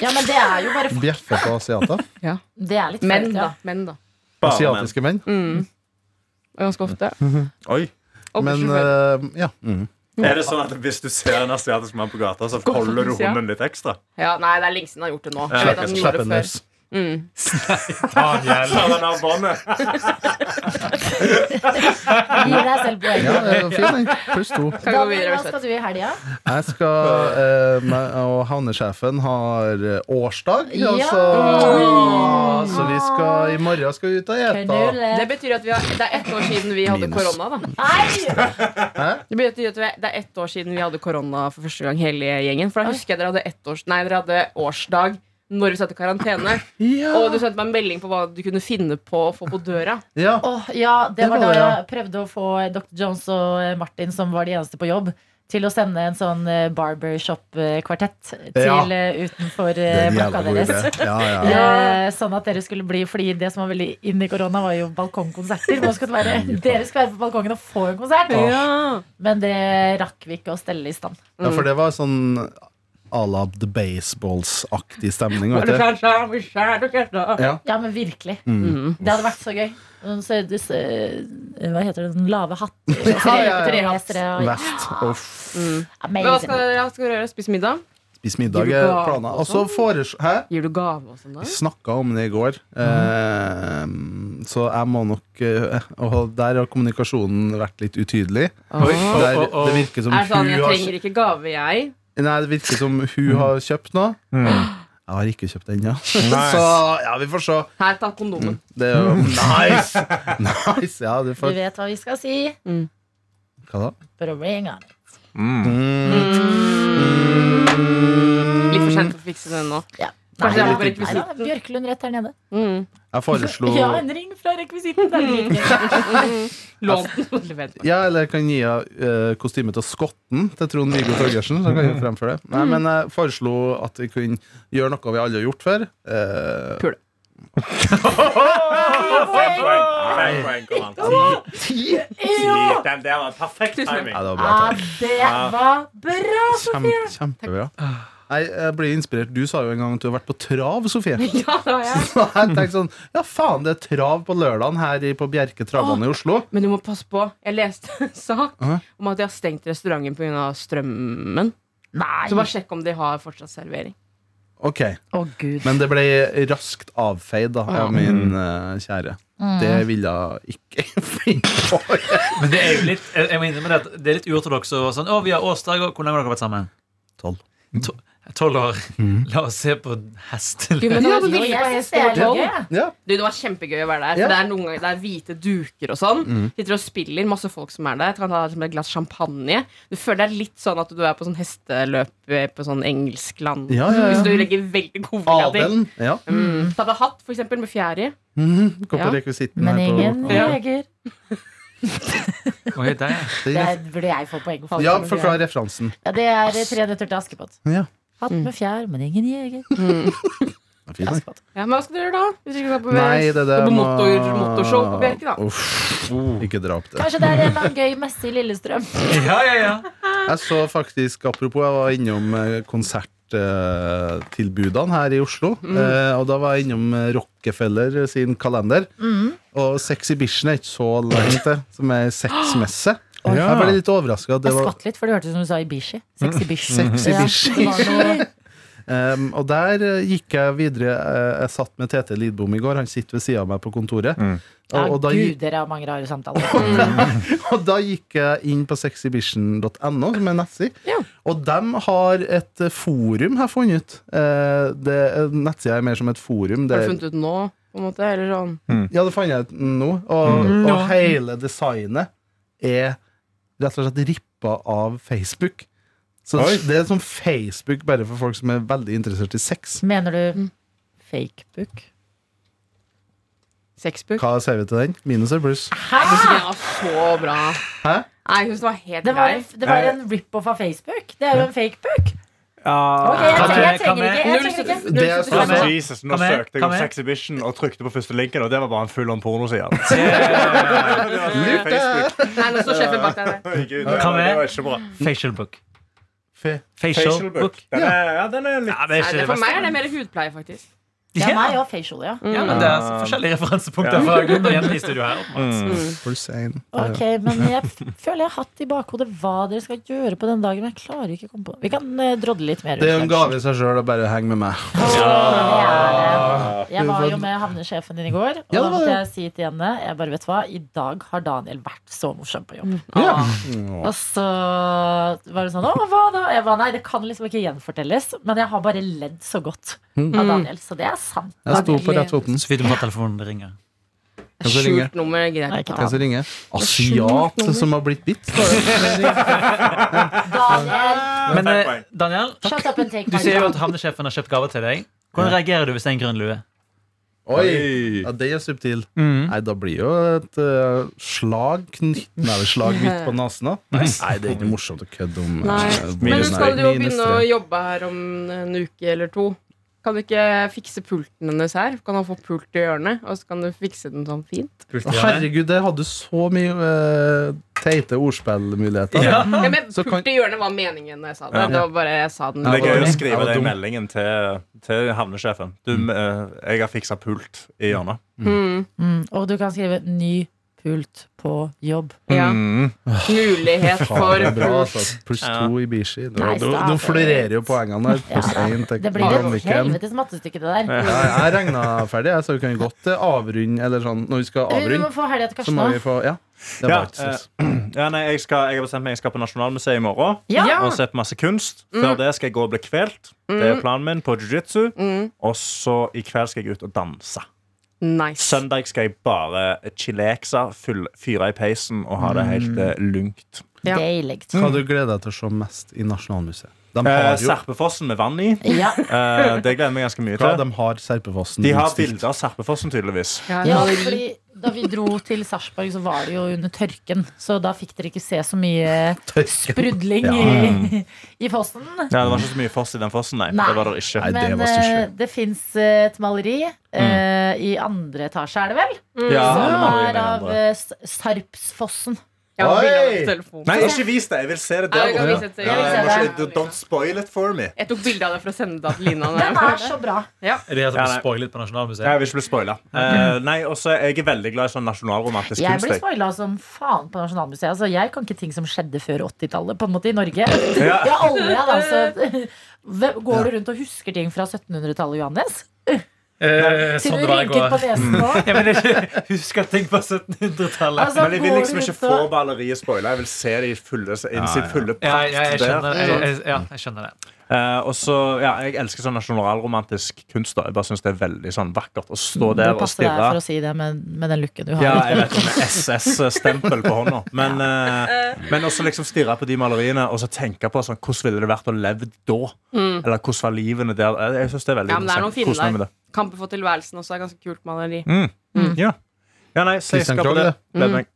[SPEAKER 2] Ja, men det er jo bare
[SPEAKER 5] Bjeffe på asiater.
[SPEAKER 2] Det er litt
[SPEAKER 4] Menn,
[SPEAKER 2] fælt, ja.
[SPEAKER 4] da. Menn, da.
[SPEAKER 3] Bare menn.
[SPEAKER 5] Asiatiske menn.
[SPEAKER 4] Mm, Ganske ofte.
[SPEAKER 3] Oi.
[SPEAKER 4] Og
[SPEAKER 5] Men
[SPEAKER 4] sjåfør.
[SPEAKER 5] eh, ja. Mm.
[SPEAKER 3] Er det sånn at hvis du ser en asiatisk mann på gata, så holder du
[SPEAKER 4] Ja.
[SPEAKER 3] hunden litt ekstra?
[SPEAKER 4] ja, nei, det er lenge siden han har gjort det nå. Jeg
[SPEAKER 3] Ja,
[SPEAKER 4] vet
[SPEAKER 3] ok,
[SPEAKER 4] at han
[SPEAKER 3] så
[SPEAKER 4] gjorde
[SPEAKER 5] Slapp
[SPEAKER 4] det
[SPEAKER 5] en
[SPEAKER 4] før. Mm.
[SPEAKER 5] løs.
[SPEAKER 3] Ta den av båndet.
[SPEAKER 2] Gi deg selv poeng.
[SPEAKER 5] Ja, det er fin, den. Pluss to.
[SPEAKER 4] Kan vi gå
[SPEAKER 2] Daniel,
[SPEAKER 4] videre?
[SPEAKER 2] hva skal
[SPEAKER 4] Øystein?
[SPEAKER 2] du i helga?
[SPEAKER 5] Jeg skal eh, meg Og havnesjefen har eh, årsdag,
[SPEAKER 2] Ja.
[SPEAKER 5] altså. Så vi skal i morgen skal vi ut og ete.
[SPEAKER 2] Knule.
[SPEAKER 4] Det betyr at vi har, det er ett år siden vi hadde
[SPEAKER 5] Minus.
[SPEAKER 4] korona, da.
[SPEAKER 2] Nei!
[SPEAKER 4] Det betyr at vi- det er ett år siden vi hadde korona for første gang, hele gjengen. For da husker jeg dere hadde, ett års, nei, dere hadde årsdag når vi satt i karantene. Og du sendte meg en melding på hva du kunne finne på å få på døra.
[SPEAKER 5] Ja.
[SPEAKER 2] Åh, ja, det
[SPEAKER 5] Det
[SPEAKER 2] var
[SPEAKER 5] var
[SPEAKER 2] da
[SPEAKER 5] det, ja.
[SPEAKER 2] jeg prøvde å få Dr. Jones og eh, Martin, som var de eneste på jobb, til å sende en sånn eh, barbershop-kvartett til
[SPEAKER 5] Ja.
[SPEAKER 2] eh, utenfor
[SPEAKER 5] Det er
[SPEAKER 2] eh,
[SPEAKER 5] en jævla
[SPEAKER 2] blokka
[SPEAKER 5] god
[SPEAKER 2] deres.
[SPEAKER 5] idé. Ja, ja. ja.
[SPEAKER 2] Eh, Sånn at dere skulle bli Fordi det som var veldig inn i korona, var jo balkongkonserter. Nå skal det være, dere skulle være på balkongen og få en konsert!
[SPEAKER 4] Ja.
[SPEAKER 2] Men det rakk vi ikke å stelle i stand.
[SPEAKER 5] Ja, for det var sånn à la The Baseballs-aktig stemning.
[SPEAKER 4] Er
[SPEAKER 5] Vet
[SPEAKER 4] du
[SPEAKER 5] du?
[SPEAKER 4] klar, klar, er du klar, er du klar?
[SPEAKER 5] Ja.
[SPEAKER 2] Ja, men virkelig. Mm. Det hadde vært så gøy. Noen så, disse, eh, hva heter det? Den lave hatt?
[SPEAKER 5] ja, ja.
[SPEAKER 2] Gresere og-
[SPEAKER 5] Vest. Uff.
[SPEAKER 4] Men hva
[SPEAKER 2] Amazing.
[SPEAKER 4] skal dere, hva skal dere gjøre? Spise middag?
[SPEAKER 5] Spis middag er planen. Og så foreslår Hæ?
[SPEAKER 4] Gir du gave og sånn da?
[SPEAKER 5] Vi snakka om det i går, eh, så jeg må nok eh, Og der har kommunikasjonen vært litt utydelig. Der,
[SPEAKER 6] Å, å, å.
[SPEAKER 5] det virker som
[SPEAKER 4] Er det sånn,
[SPEAKER 5] hun
[SPEAKER 4] jeg
[SPEAKER 5] har
[SPEAKER 4] trenger ikke gave, jeg.
[SPEAKER 5] Nei, det virker som hun har kjøpt noe.
[SPEAKER 6] Mm.
[SPEAKER 5] Jeg har ikke kjøpt den, ja. Så ja, vi får se.
[SPEAKER 4] Her, ta kondomen.
[SPEAKER 5] Det er jo
[SPEAKER 6] Mm.
[SPEAKER 5] nice! Nice, ja, du
[SPEAKER 2] Du
[SPEAKER 5] får
[SPEAKER 2] vet hva vi skal si.
[SPEAKER 5] Hva da?
[SPEAKER 2] But ring on.
[SPEAKER 5] Mm.
[SPEAKER 4] Litt for sent å fikse den nå.
[SPEAKER 2] Nei,
[SPEAKER 4] Kanskje det var
[SPEAKER 2] nei,
[SPEAKER 4] bare
[SPEAKER 2] nei, nei, Bjørklund rett her nede.
[SPEAKER 4] Mm.
[SPEAKER 5] Jeg foreslo
[SPEAKER 2] Ja, en ring fra rekvisitten. Det er dritgøy.
[SPEAKER 4] Lån.
[SPEAKER 5] Altså.
[SPEAKER 4] Levert.
[SPEAKER 5] Ja, eller jeg kan gi henne eh, kostyme til skotten til Trond-Viggo Torgersen. Så kan jeg fremføre det Nei, Men jeg foreslo at vi kunne gjøre noe vi alle har gjort før. Eh,
[SPEAKER 4] Pule.
[SPEAKER 3] Fem poeng. Fem poeng kom han. Ti. Ti. Den der var perfekt timing.
[SPEAKER 5] Nei, det var bra.
[SPEAKER 2] Ja,
[SPEAKER 5] Tara.
[SPEAKER 2] det var bra!
[SPEAKER 4] Ah,
[SPEAKER 5] Kjem, kjempebra. Nei, jeg blir inspirert. Du sa jo en gang at du har vært på trav, Sofie.
[SPEAKER 4] Ja, det var jeg.
[SPEAKER 5] Så jeg tenkte sånn Ja, faen, det er trav på lørdagen her i- på Bjerke travbane i Oslo.
[SPEAKER 4] Men du må passe på. Jeg leste en sak
[SPEAKER 5] Hæ?
[SPEAKER 4] om at de har stengt restauranten pga. strømmen. Så bare sjekk om de har fortsatt servering.
[SPEAKER 5] Ok,
[SPEAKER 2] Å, gud.
[SPEAKER 5] Men det ble raskt avfeid da, av min eh, kjære.
[SPEAKER 4] Mm.
[SPEAKER 5] Det ville jeg ikke finne på.
[SPEAKER 6] Men det er jo litt jeg jeg må innrømme det at det er litt uortodoks. og Sånn, «Å, vi har årsdag, og hvor lenge har dere vært sammen?
[SPEAKER 5] Tolv.
[SPEAKER 6] To- Tolv år. La oss se på hesteløp.
[SPEAKER 4] Jo, men det,
[SPEAKER 5] Ja,
[SPEAKER 4] var
[SPEAKER 5] men
[SPEAKER 2] Jo,
[SPEAKER 4] vilt.
[SPEAKER 2] jeg synes det er litt gøy.
[SPEAKER 5] Ja.
[SPEAKER 4] du, det var kjempegøy å være der.
[SPEAKER 5] Ja. Mm.
[SPEAKER 4] For det er noen ganger det er hvite duker og sånn. Sitter og spiller, masse folk som er der. Du kan ta som et glass champagne. Du føler deg litt sånn at du er på sånn hesteløp eh, på sånn engelsk land.
[SPEAKER 5] Ja, ja, ja.
[SPEAKER 4] Hvis du legger veldig god vilje til.
[SPEAKER 5] Adelen. Ja.
[SPEAKER 4] Mm. Ta deg hatt, for eksempel, med fjære.
[SPEAKER 5] Mhm, Gå på
[SPEAKER 4] Ja.
[SPEAKER 5] rekvisitten
[SPEAKER 2] Men
[SPEAKER 5] her på-
[SPEAKER 2] ingen
[SPEAKER 4] Ja.
[SPEAKER 2] jeger.
[SPEAKER 6] Oi, der, ja.
[SPEAKER 5] Det er-
[SPEAKER 2] Der burde jeg få poeng. for.
[SPEAKER 5] Ja, forklar referansen.
[SPEAKER 2] Ja, det er eh, Tre nøtter til Askepott.
[SPEAKER 5] Ja.
[SPEAKER 2] Hatt med fjær, men ingen jeger. Askepott.
[SPEAKER 4] Ja, men hva skal dere gjøre da? Hvis dere ikke skal på,
[SPEAKER 5] Nei, det der
[SPEAKER 4] på
[SPEAKER 5] må-
[SPEAKER 4] motor, motorshow på Bjerke, da.
[SPEAKER 5] Uff, ikke drap det.
[SPEAKER 2] Kanskje det er en eller annen gøy messe i Lillestrøm.
[SPEAKER 6] Oh. ja, ja, ja.
[SPEAKER 5] Jeg så faktisk, apropos, jeg var innom eh, konserttilbudene her i Oslo. eh, Og da var jeg innom eh, Rockefeller sin kalender. Og Sexy Bition er ikke så langt, det, som er sexmesse. Jeg ble litt overraska. Det
[SPEAKER 2] Jeg
[SPEAKER 5] var Mm.
[SPEAKER 2] skvatt litt, for det hørtes ut som du sa Ibishi. Sexy bish.
[SPEAKER 5] Sexy
[SPEAKER 2] Ja,
[SPEAKER 5] bish.
[SPEAKER 2] det var noe-
[SPEAKER 5] Um, og der eh, gikk jeg videre. eh, Jeg satt med Tete Lidbom i går. Han sitter ved sida av meg på kontoret.
[SPEAKER 2] Ja,
[SPEAKER 5] Og, og, da,
[SPEAKER 2] gud,
[SPEAKER 5] gikk-
[SPEAKER 2] dere har mange rare samtaler.
[SPEAKER 5] og da gikk jeg inn på sexybition.no, som er nettside.
[SPEAKER 4] Ja.
[SPEAKER 5] Og de har et eh, forum, har jeg funnet ut. Eh, det, eh, nettsida er mer som et forum. Det,
[SPEAKER 4] Har du funnet ut nå, på en måte? Eller sånn.
[SPEAKER 5] ja, det fant jeg ut nå. Og, og hele designet er rett og slett rippa av Facebook. Så
[SPEAKER 3] Oi.
[SPEAKER 5] det er som Facebook bare for folk som er veldig interessert i sex.
[SPEAKER 2] Mener du fakebook?
[SPEAKER 4] Sexbook.
[SPEAKER 5] Hva sier vi til den? Minus eller pluss?
[SPEAKER 4] Jeg synes den var så bra.
[SPEAKER 5] Hæ?
[SPEAKER 4] Nei, jeg synes den var helt
[SPEAKER 2] Det var,
[SPEAKER 4] grei.
[SPEAKER 2] en- det var en rip-off av Facebook. Det er jo en fakebook. Ok, jeg, trenger-
[SPEAKER 6] Kan
[SPEAKER 2] jeg trenger
[SPEAKER 6] vi- kan vi-
[SPEAKER 2] ikke. Jeg trenger ikke.
[SPEAKER 5] Det er
[SPEAKER 3] Ja,
[SPEAKER 5] så-
[SPEAKER 3] men Jesus, nå
[SPEAKER 6] Kom her,
[SPEAKER 3] søkte jeg
[SPEAKER 6] kom
[SPEAKER 3] om
[SPEAKER 6] her.
[SPEAKER 3] Sexhibition og trykte på første linken, og det var bare en full on pornoside.
[SPEAKER 4] Nei, nå står sjefen bak deg der.
[SPEAKER 6] Kom her.
[SPEAKER 3] Det var ikke bra.
[SPEAKER 6] Facial book.
[SPEAKER 5] Fe-
[SPEAKER 6] Facial
[SPEAKER 3] Facial book.
[SPEAKER 6] book.
[SPEAKER 3] Den er, ja, den er litt
[SPEAKER 6] Ja, det er
[SPEAKER 4] Nei,
[SPEAKER 6] ikke
[SPEAKER 4] det
[SPEAKER 6] det
[SPEAKER 4] for
[SPEAKER 6] beste.
[SPEAKER 4] meg er det mer hudpleie, faktisk.
[SPEAKER 2] Ja, meg og facial, ja.
[SPEAKER 5] Mm.
[SPEAKER 6] Ja, men det er altså forskjellige referansepunkter
[SPEAKER 3] Ja.
[SPEAKER 6] fra gutter og jenter i studio her. åpenbart.
[SPEAKER 4] Mm.
[SPEAKER 5] Pluss én.
[SPEAKER 2] Ok, men jeg f- føler jeg har hatt i bakhodet hva dere skal gjøre på den dagen. Men jeg klarer ikke å komme på Vi kan eh, drodle litt mer.
[SPEAKER 5] Det er jo en
[SPEAKER 2] rundt
[SPEAKER 5] gave i seg sjøl å bare henge med meg.
[SPEAKER 2] Ja, det er det. Jeg
[SPEAKER 5] Du
[SPEAKER 2] var
[SPEAKER 5] får-
[SPEAKER 2] jo med havnesjefen din i går, og
[SPEAKER 5] Ja, det
[SPEAKER 2] da
[SPEAKER 5] var
[SPEAKER 2] måtte
[SPEAKER 5] det.
[SPEAKER 2] jeg si til henne Jeg bare, vet du hva, i dag har Daniel vært så morsom på jobb.
[SPEAKER 5] Mm. Ja. Mm.
[SPEAKER 2] Og så var det sånn Å, hva da? Jeg bare, Nei, det kan liksom ikke gjenfortelles, men jeg har bare ledd så godt
[SPEAKER 5] Mm.
[SPEAKER 2] av Daniel. Så det er sant.
[SPEAKER 5] Jeg sto på rett foten.
[SPEAKER 6] Sofie, du må ta telefonen. Det ringer.
[SPEAKER 5] Kan jeg ringe?
[SPEAKER 4] Skjult nummer er greit.
[SPEAKER 2] Nei, ikke
[SPEAKER 5] Hvem som ringer? Asiat som har blitt bitt.
[SPEAKER 2] Daniel,
[SPEAKER 6] Men
[SPEAKER 3] Fem
[SPEAKER 6] eh,
[SPEAKER 3] poeng.
[SPEAKER 6] Daniel,
[SPEAKER 2] shut up and take
[SPEAKER 6] du
[SPEAKER 2] my
[SPEAKER 6] sier jo
[SPEAKER 2] job.
[SPEAKER 6] at havnesjefen har kjøpt gaver til deg. Hvordan reagerer du hvis det er en grønn lue?
[SPEAKER 5] Oi! Ja, det er subtil.
[SPEAKER 6] Mm.
[SPEAKER 5] Nei, da blir jo et eh, slag Knyttneveslag midt på nesen. da. Nei, det er ikke morsomt å kødde om. eh,
[SPEAKER 4] Nei. Men
[SPEAKER 5] minus-
[SPEAKER 4] skal du jo
[SPEAKER 5] minus
[SPEAKER 4] begynne å
[SPEAKER 5] tre.
[SPEAKER 4] jobbe her om en uke eller to? Kan du ikke fikse pulten hennes her? Kan han få pult i hjørnet, og så kan du fikse den sånn fint?
[SPEAKER 5] Å, Herregud, der hadde du så mye eh, teite ordspillmuligheter.
[SPEAKER 4] Ja,
[SPEAKER 6] Ja.
[SPEAKER 4] men
[SPEAKER 5] Så kan-
[SPEAKER 4] pult i hjørnet var meningen da jeg sa det.
[SPEAKER 3] Ja.
[SPEAKER 4] Det var bare jeg sa den.
[SPEAKER 3] Det er gøy å
[SPEAKER 4] dårlig.
[SPEAKER 5] Jeg
[SPEAKER 3] skrive
[SPEAKER 5] var
[SPEAKER 3] den
[SPEAKER 5] dum.
[SPEAKER 3] meldingen til, til havnesjefen. Du, eh, jeg har fiksa pult i hjørnet.
[SPEAKER 4] Mm.
[SPEAKER 2] Mm, og du kan skrive 'ny pult på jobb'.
[SPEAKER 4] Ja.
[SPEAKER 3] Mm.
[SPEAKER 4] Mulighet
[SPEAKER 5] Faen,
[SPEAKER 4] for
[SPEAKER 5] det er bra,
[SPEAKER 4] pult.
[SPEAKER 5] altså. Pluss to i Bishi. Nå,
[SPEAKER 2] Nei,
[SPEAKER 5] nå,
[SPEAKER 2] stakkars.
[SPEAKER 5] nå florerer jo poengene her. Pluss
[SPEAKER 2] Ja,
[SPEAKER 5] én til
[SPEAKER 2] Det blir jo et
[SPEAKER 5] Danviken.
[SPEAKER 2] helvetes mattestykke, det der.
[SPEAKER 5] Ja, jeg regna ferdig, jeg, så vi kan godt eh, avrunde eller sånn, når vi skal
[SPEAKER 2] Du, du må
[SPEAKER 5] avrunde.
[SPEAKER 2] få helga til
[SPEAKER 5] Så må
[SPEAKER 2] Karsten.
[SPEAKER 5] vi
[SPEAKER 2] da.
[SPEAKER 5] få Ja.
[SPEAKER 3] Ja,
[SPEAKER 5] Det var ikke stress.
[SPEAKER 3] Ja, nei, jeg, skal, jeg har bestemt meg jeg skal på Nasjonalmuseet i morgen
[SPEAKER 2] Ja.
[SPEAKER 3] og se på masse kunst. Før det skal jeg gå og bli kvelt. Det er planen min på jiu-jitsu.
[SPEAKER 4] Mm.
[SPEAKER 3] Og så i kveld skal jeg ut og danse.
[SPEAKER 4] Nice.
[SPEAKER 3] Søndag skal jeg bare chilleksa, full- fyre i peisen og ha det helt eh, lungt.
[SPEAKER 4] Ja.
[SPEAKER 2] Deilig.
[SPEAKER 5] eh, Hva du gleder deg til å se mest i Nasjonalmuseet? De
[SPEAKER 3] Eh,
[SPEAKER 5] har jo
[SPEAKER 3] Serpefossen med vann i.
[SPEAKER 2] Ja.
[SPEAKER 3] Eh, det gleder jeg meg ganske mye
[SPEAKER 5] ja,
[SPEAKER 3] til.
[SPEAKER 5] de har Serpefossen
[SPEAKER 3] De har
[SPEAKER 5] utstilt.
[SPEAKER 3] bilder av Serpefossen, tydeligvis.
[SPEAKER 2] Ja, fordi da vi dro til Sarpsborg, så var det jo under tørken. Så da fikk dere ikke se så mye sprudling i, i fossen.
[SPEAKER 3] Mm. Ja, det var ikke så mye foss i den fossen, nei.
[SPEAKER 2] Nei.
[SPEAKER 3] Det var der ikke.
[SPEAKER 5] Nei, det
[SPEAKER 2] Men
[SPEAKER 5] var så
[SPEAKER 2] eh,
[SPEAKER 5] sjukt.
[SPEAKER 2] det fins et maleri eh, i andre etasje, er det vel?
[SPEAKER 3] Ja, det
[SPEAKER 2] Som
[SPEAKER 3] var jo
[SPEAKER 2] er
[SPEAKER 3] med
[SPEAKER 2] av
[SPEAKER 3] andre.
[SPEAKER 2] eh, S- Sarpsfossen.
[SPEAKER 4] Jeg har bilde av
[SPEAKER 5] Oi!
[SPEAKER 4] det på telefonen.
[SPEAKER 3] Nei, ikke vis det. Jeg vil se det
[SPEAKER 4] Ja,
[SPEAKER 3] der
[SPEAKER 4] jeg kan vise
[SPEAKER 3] borte.
[SPEAKER 4] det til-
[SPEAKER 3] Ja,
[SPEAKER 2] jeg vil
[SPEAKER 3] jeg
[SPEAKER 2] se
[SPEAKER 3] må
[SPEAKER 2] det.
[SPEAKER 3] ikke- Don't spoil it for me.
[SPEAKER 4] Jeg tok bilde av det for å sende det til Lina. når jeg
[SPEAKER 2] Den
[SPEAKER 4] var
[SPEAKER 2] er
[SPEAKER 4] der.
[SPEAKER 2] så bra.
[SPEAKER 6] Er det her som
[SPEAKER 3] Ja,
[SPEAKER 6] ja,
[SPEAKER 3] nei.
[SPEAKER 6] spoilet på
[SPEAKER 3] Nei, Jeg
[SPEAKER 6] Nasjonalmuseet?
[SPEAKER 3] vil ikke bli spoila. Eh, nei, også, jeg er veldig glad i sånn nasjonalromantisk
[SPEAKER 2] Jeg
[SPEAKER 3] kunst.
[SPEAKER 2] ble
[SPEAKER 3] jeg.
[SPEAKER 2] spoila som faen på Nasjonalmuseet. Altså, jeg kan ikke ting som skjedde før 80-tallet på en måte i Norge.
[SPEAKER 3] Ja.
[SPEAKER 2] Jeg aldri hadde altså Hvem- Går du rundt og husker ting fra 1700-tallet, Johannes?
[SPEAKER 6] Eh,
[SPEAKER 2] Til
[SPEAKER 6] sånn
[SPEAKER 2] du
[SPEAKER 6] det var i
[SPEAKER 2] rynket på
[SPEAKER 6] går.
[SPEAKER 2] nesen nå?
[SPEAKER 6] Ja, men det er ikke, husk at ting på 1700-tallet.
[SPEAKER 2] Altså,
[SPEAKER 3] Men jeg vil
[SPEAKER 2] går
[SPEAKER 3] liksom
[SPEAKER 2] du
[SPEAKER 3] ikke
[SPEAKER 2] rundt og-
[SPEAKER 3] få balleriet spoila. Jeg vil se det i fulle, inn
[SPEAKER 5] ja.
[SPEAKER 3] sitt fulle
[SPEAKER 6] Ja,
[SPEAKER 3] prakt.
[SPEAKER 6] ja, jeg
[SPEAKER 3] der.
[SPEAKER 6] skjønner, jeg, jeg, ja, jeg skjønner det.
[SPEAKER 3] Eh, og så, ja, Jeg elsker sånn nasjonalromantisk kunst. da Jeg bare synes det er veldig sånn vakkert å stå der
[SPEAKER 2] Du
[SPEAKER 3] og
[SPEAKER 2] Mm, passer deg for
[SPEAKER 3] stirre.
[SPEAKER 2] å si det med, med den looken du har.
[SPEAKER 3] Ja, jeg vet om det er SS-stempel på hånda. Men, eh, men også liksom stirre på de maleriene og så tenke på sånn, hvordan ville det vært å leve da. Eller hvordan var livene der. Eh, Jeg synes det er veldig
[SPEAKER 4] Ja, men det er noen
[SPEAKER 3] interessant.
[SPEAKER 4] fine
[SPEAKER 3] Kos meg med
[SPEAKER 4] der.
[SPEAKER 3] det.
[SPEAKER 4] Kampen for tilværelsen også er ganske kult maleri.
[SPEAKER 3] Mm.
[SPEAKER 2] Mm.
[SPEAKER 3] Ja. ja, nei, så jeg
[SPEAKER 5] Christian
[SPEAKER 3] skal på
[SPEAKER 5] Krohg,
[SPEAKER 3] det. Gleder meg.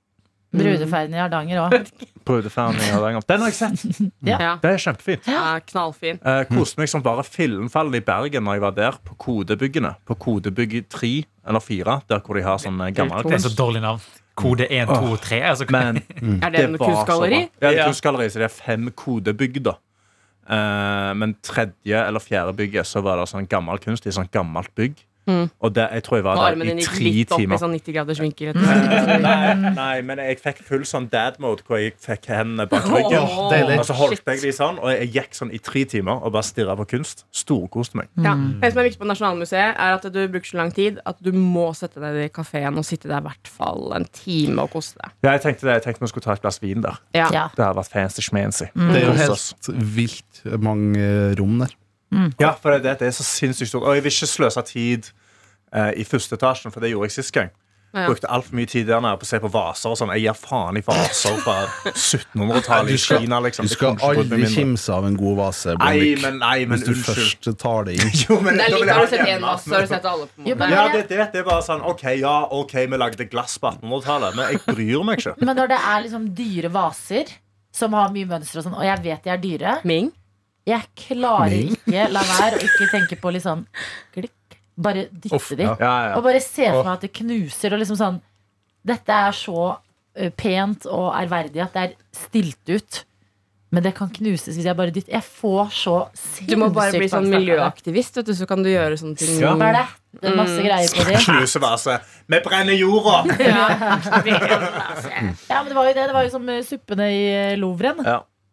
[SPEAKER 2] Brudeferden i Hardanger òg.
[SPEAKER 3] Brudeferden i Hardanger. Den har jeg sett.
[SPEAKER 4] Ja.
[SPEAKER 3] Det er kjempefint.
[SPEAKER 4] Ja, knallfin.
[SPEAKER 3] Eh, koste meg som bare fillenfallet i Bergen når jeg var der, på kodebyggene. På kodebygg 3 eller 4, der hvor de har sånn eh, gammel
[SPEAKER 6] Det er så
[SPEAKER 3] kunst.
[SPEAKER 6] dårlig navn. Kode 1, 2 og 3. Altså,
[SPEAKER 3] Men
[SPEAKER 4] Er det, en kunstgalleri?
[SPEAKER 3] bra. Ja, det
[SPEAKER 6] Ja.
[SPEAKER 3] er kunstgalleri, så det er fem kodebygg, da. Eh, men tredje eller fjerde bygget så var det sånn gammel kunst i sånn gammelt bygg. Og det, jeg tror jeg var
[SPEAKER 4] Og
[SPEAKER 3] der i
[SPEAKER 4] armen din Hmm. gikk
[SPEAKER 3] tre
[SPEAKER 4] litt opp i
[SPEAKER 3] timer. Mm.
[SPEAKER 4] sånn 90 graders vinkel. etter-
[SPEAKER 3] Nei, nei, men jeg fikk full sånn dad-mode hvor jeg fikk hendene bak ryggen.
[SPEAKER 4] Åh,
[SPEAKER 5] deilig.
[SPEAKER 3] Og så holdt jeg
[SPEAKER 4] shit.
[SPEAKER 3] de sånn, og jeg gikk sånn i tre timer og bare stirra på kunst. Storkoste meg.
[SPEAKER 4] Ja. Det som er viktig på Nasjonalmuseet, er at du bruker så lang tid at du må sette deg i kafeen og sitte der i hvert fall en time og kose deg.
[SPEAKER 3] Ja, jeg tenkte det, jeg tenkte vi skulle ta et glass vin der.
[SPEAKER 4] Ja.
[SPEAKER 2] Ja.
[SPEAKER 3] Det har vært fancy schmancy.
[SPEAKER 4] Mm.
[SPEAKER 5] Det er jo
[SPEAKER 3] Hos oss.
[SPEAKER 5] helt vilt mange rom der.
[SPEAKER 3] Ja, for det, det er så sinnssykt stort. Og jeg vil ikke sløse tid eh, i første etasjen, for det gjorde jeg sist gang.
[SPEAKER 4] Ja.
[SPEAKER 3] Brukte altfor mye tid der nede på å se på vaser og sånn. Jeg gir faen i vaser fra 1700-tallet i Kina, liksom.
[SPEAKER 5] Du
[SPEAKER 3] Det
[SPEAKER 5] skal
[SPEAKER 3] kunne ikke gått meg
[SPEAKER 5] aldri
[SPEAKER 3] mindre.
[SPEAKER 5] kimse av en god vase.
[SPEAKER 3] Nei,
[SPEAKER 5] Blomvik,
[SPEAKER 3] men, nei, men
[SPEAKER 5] hvis du
[SPEAKER 3] unnskyld.
[SPEAKER 5] først tar det inn.
[SPEAKER 3] Jo, men
[SPEAKER 4] Det
[SPEAKER 3] da
[SPEAKER 4] er
[SPEAKER 3] vil
[SPEAKER 4] litt,
[SPEAKER 3] jeg ha
[SPEAKER 4] har du sett
[SPEAKER 3] hjemme. altså.
[SPEAKER 4] én masse, så har du sett alle på en
[SPEAKER 2] Jo,
[SPEAKER 4] måte.
[SPEAKER 2] men-
[SPEAKER 3] Ja, det, det, det er bare sånn OK, ja, OK, vi lagde glass på 1800-tallet, men jeg bryr meg ikke.
[SPEAKER 2] Men når det er liksom dyre vaser som har mye mønster og sånn, og jeg vet de er dyre
[SPEAKER 4] Ming?
[SPEAKER 2] Jeg klarer
[SPEAKER 5] Nei.
[SPEAKER 2] ikke la være å ikke tenke på liksom klikk. Bare dytte
[SPEAKER 5] Uff,
[SPEAKER 2] de.
[SPEAKER 5] ja.
[SPEAKER 3] Ja, ja.
[SPEAKER 2] Og bare se for meg at det knuser og liksom sånn Dette er så eh, pent og ærverdig at det er stilt ut. Men det kan knuses hvis jeg bare dytter. Jeg får så sinnssykt
[SPEAKER 4] Du må bare bli sånn
[SPEAKER 2] angst av det.
[SPEAKER 4] miljøaktivist, vet du, så kan du gjøre sånne ting.
[SPEAKER 3] Ja.
[SPEAKER 2] Hva er det? Det er
[SPEAKER 4] Mm.
[SPEAKER 2] masse greier på de.
[SPEAKER 3] Knuse vase. Vi brenner jorda!
[SPEAKER 2] Ja, men det var jo det. Det var jo som eh, suppene i eh, Louvren.
[SPEAKER 3] Ja.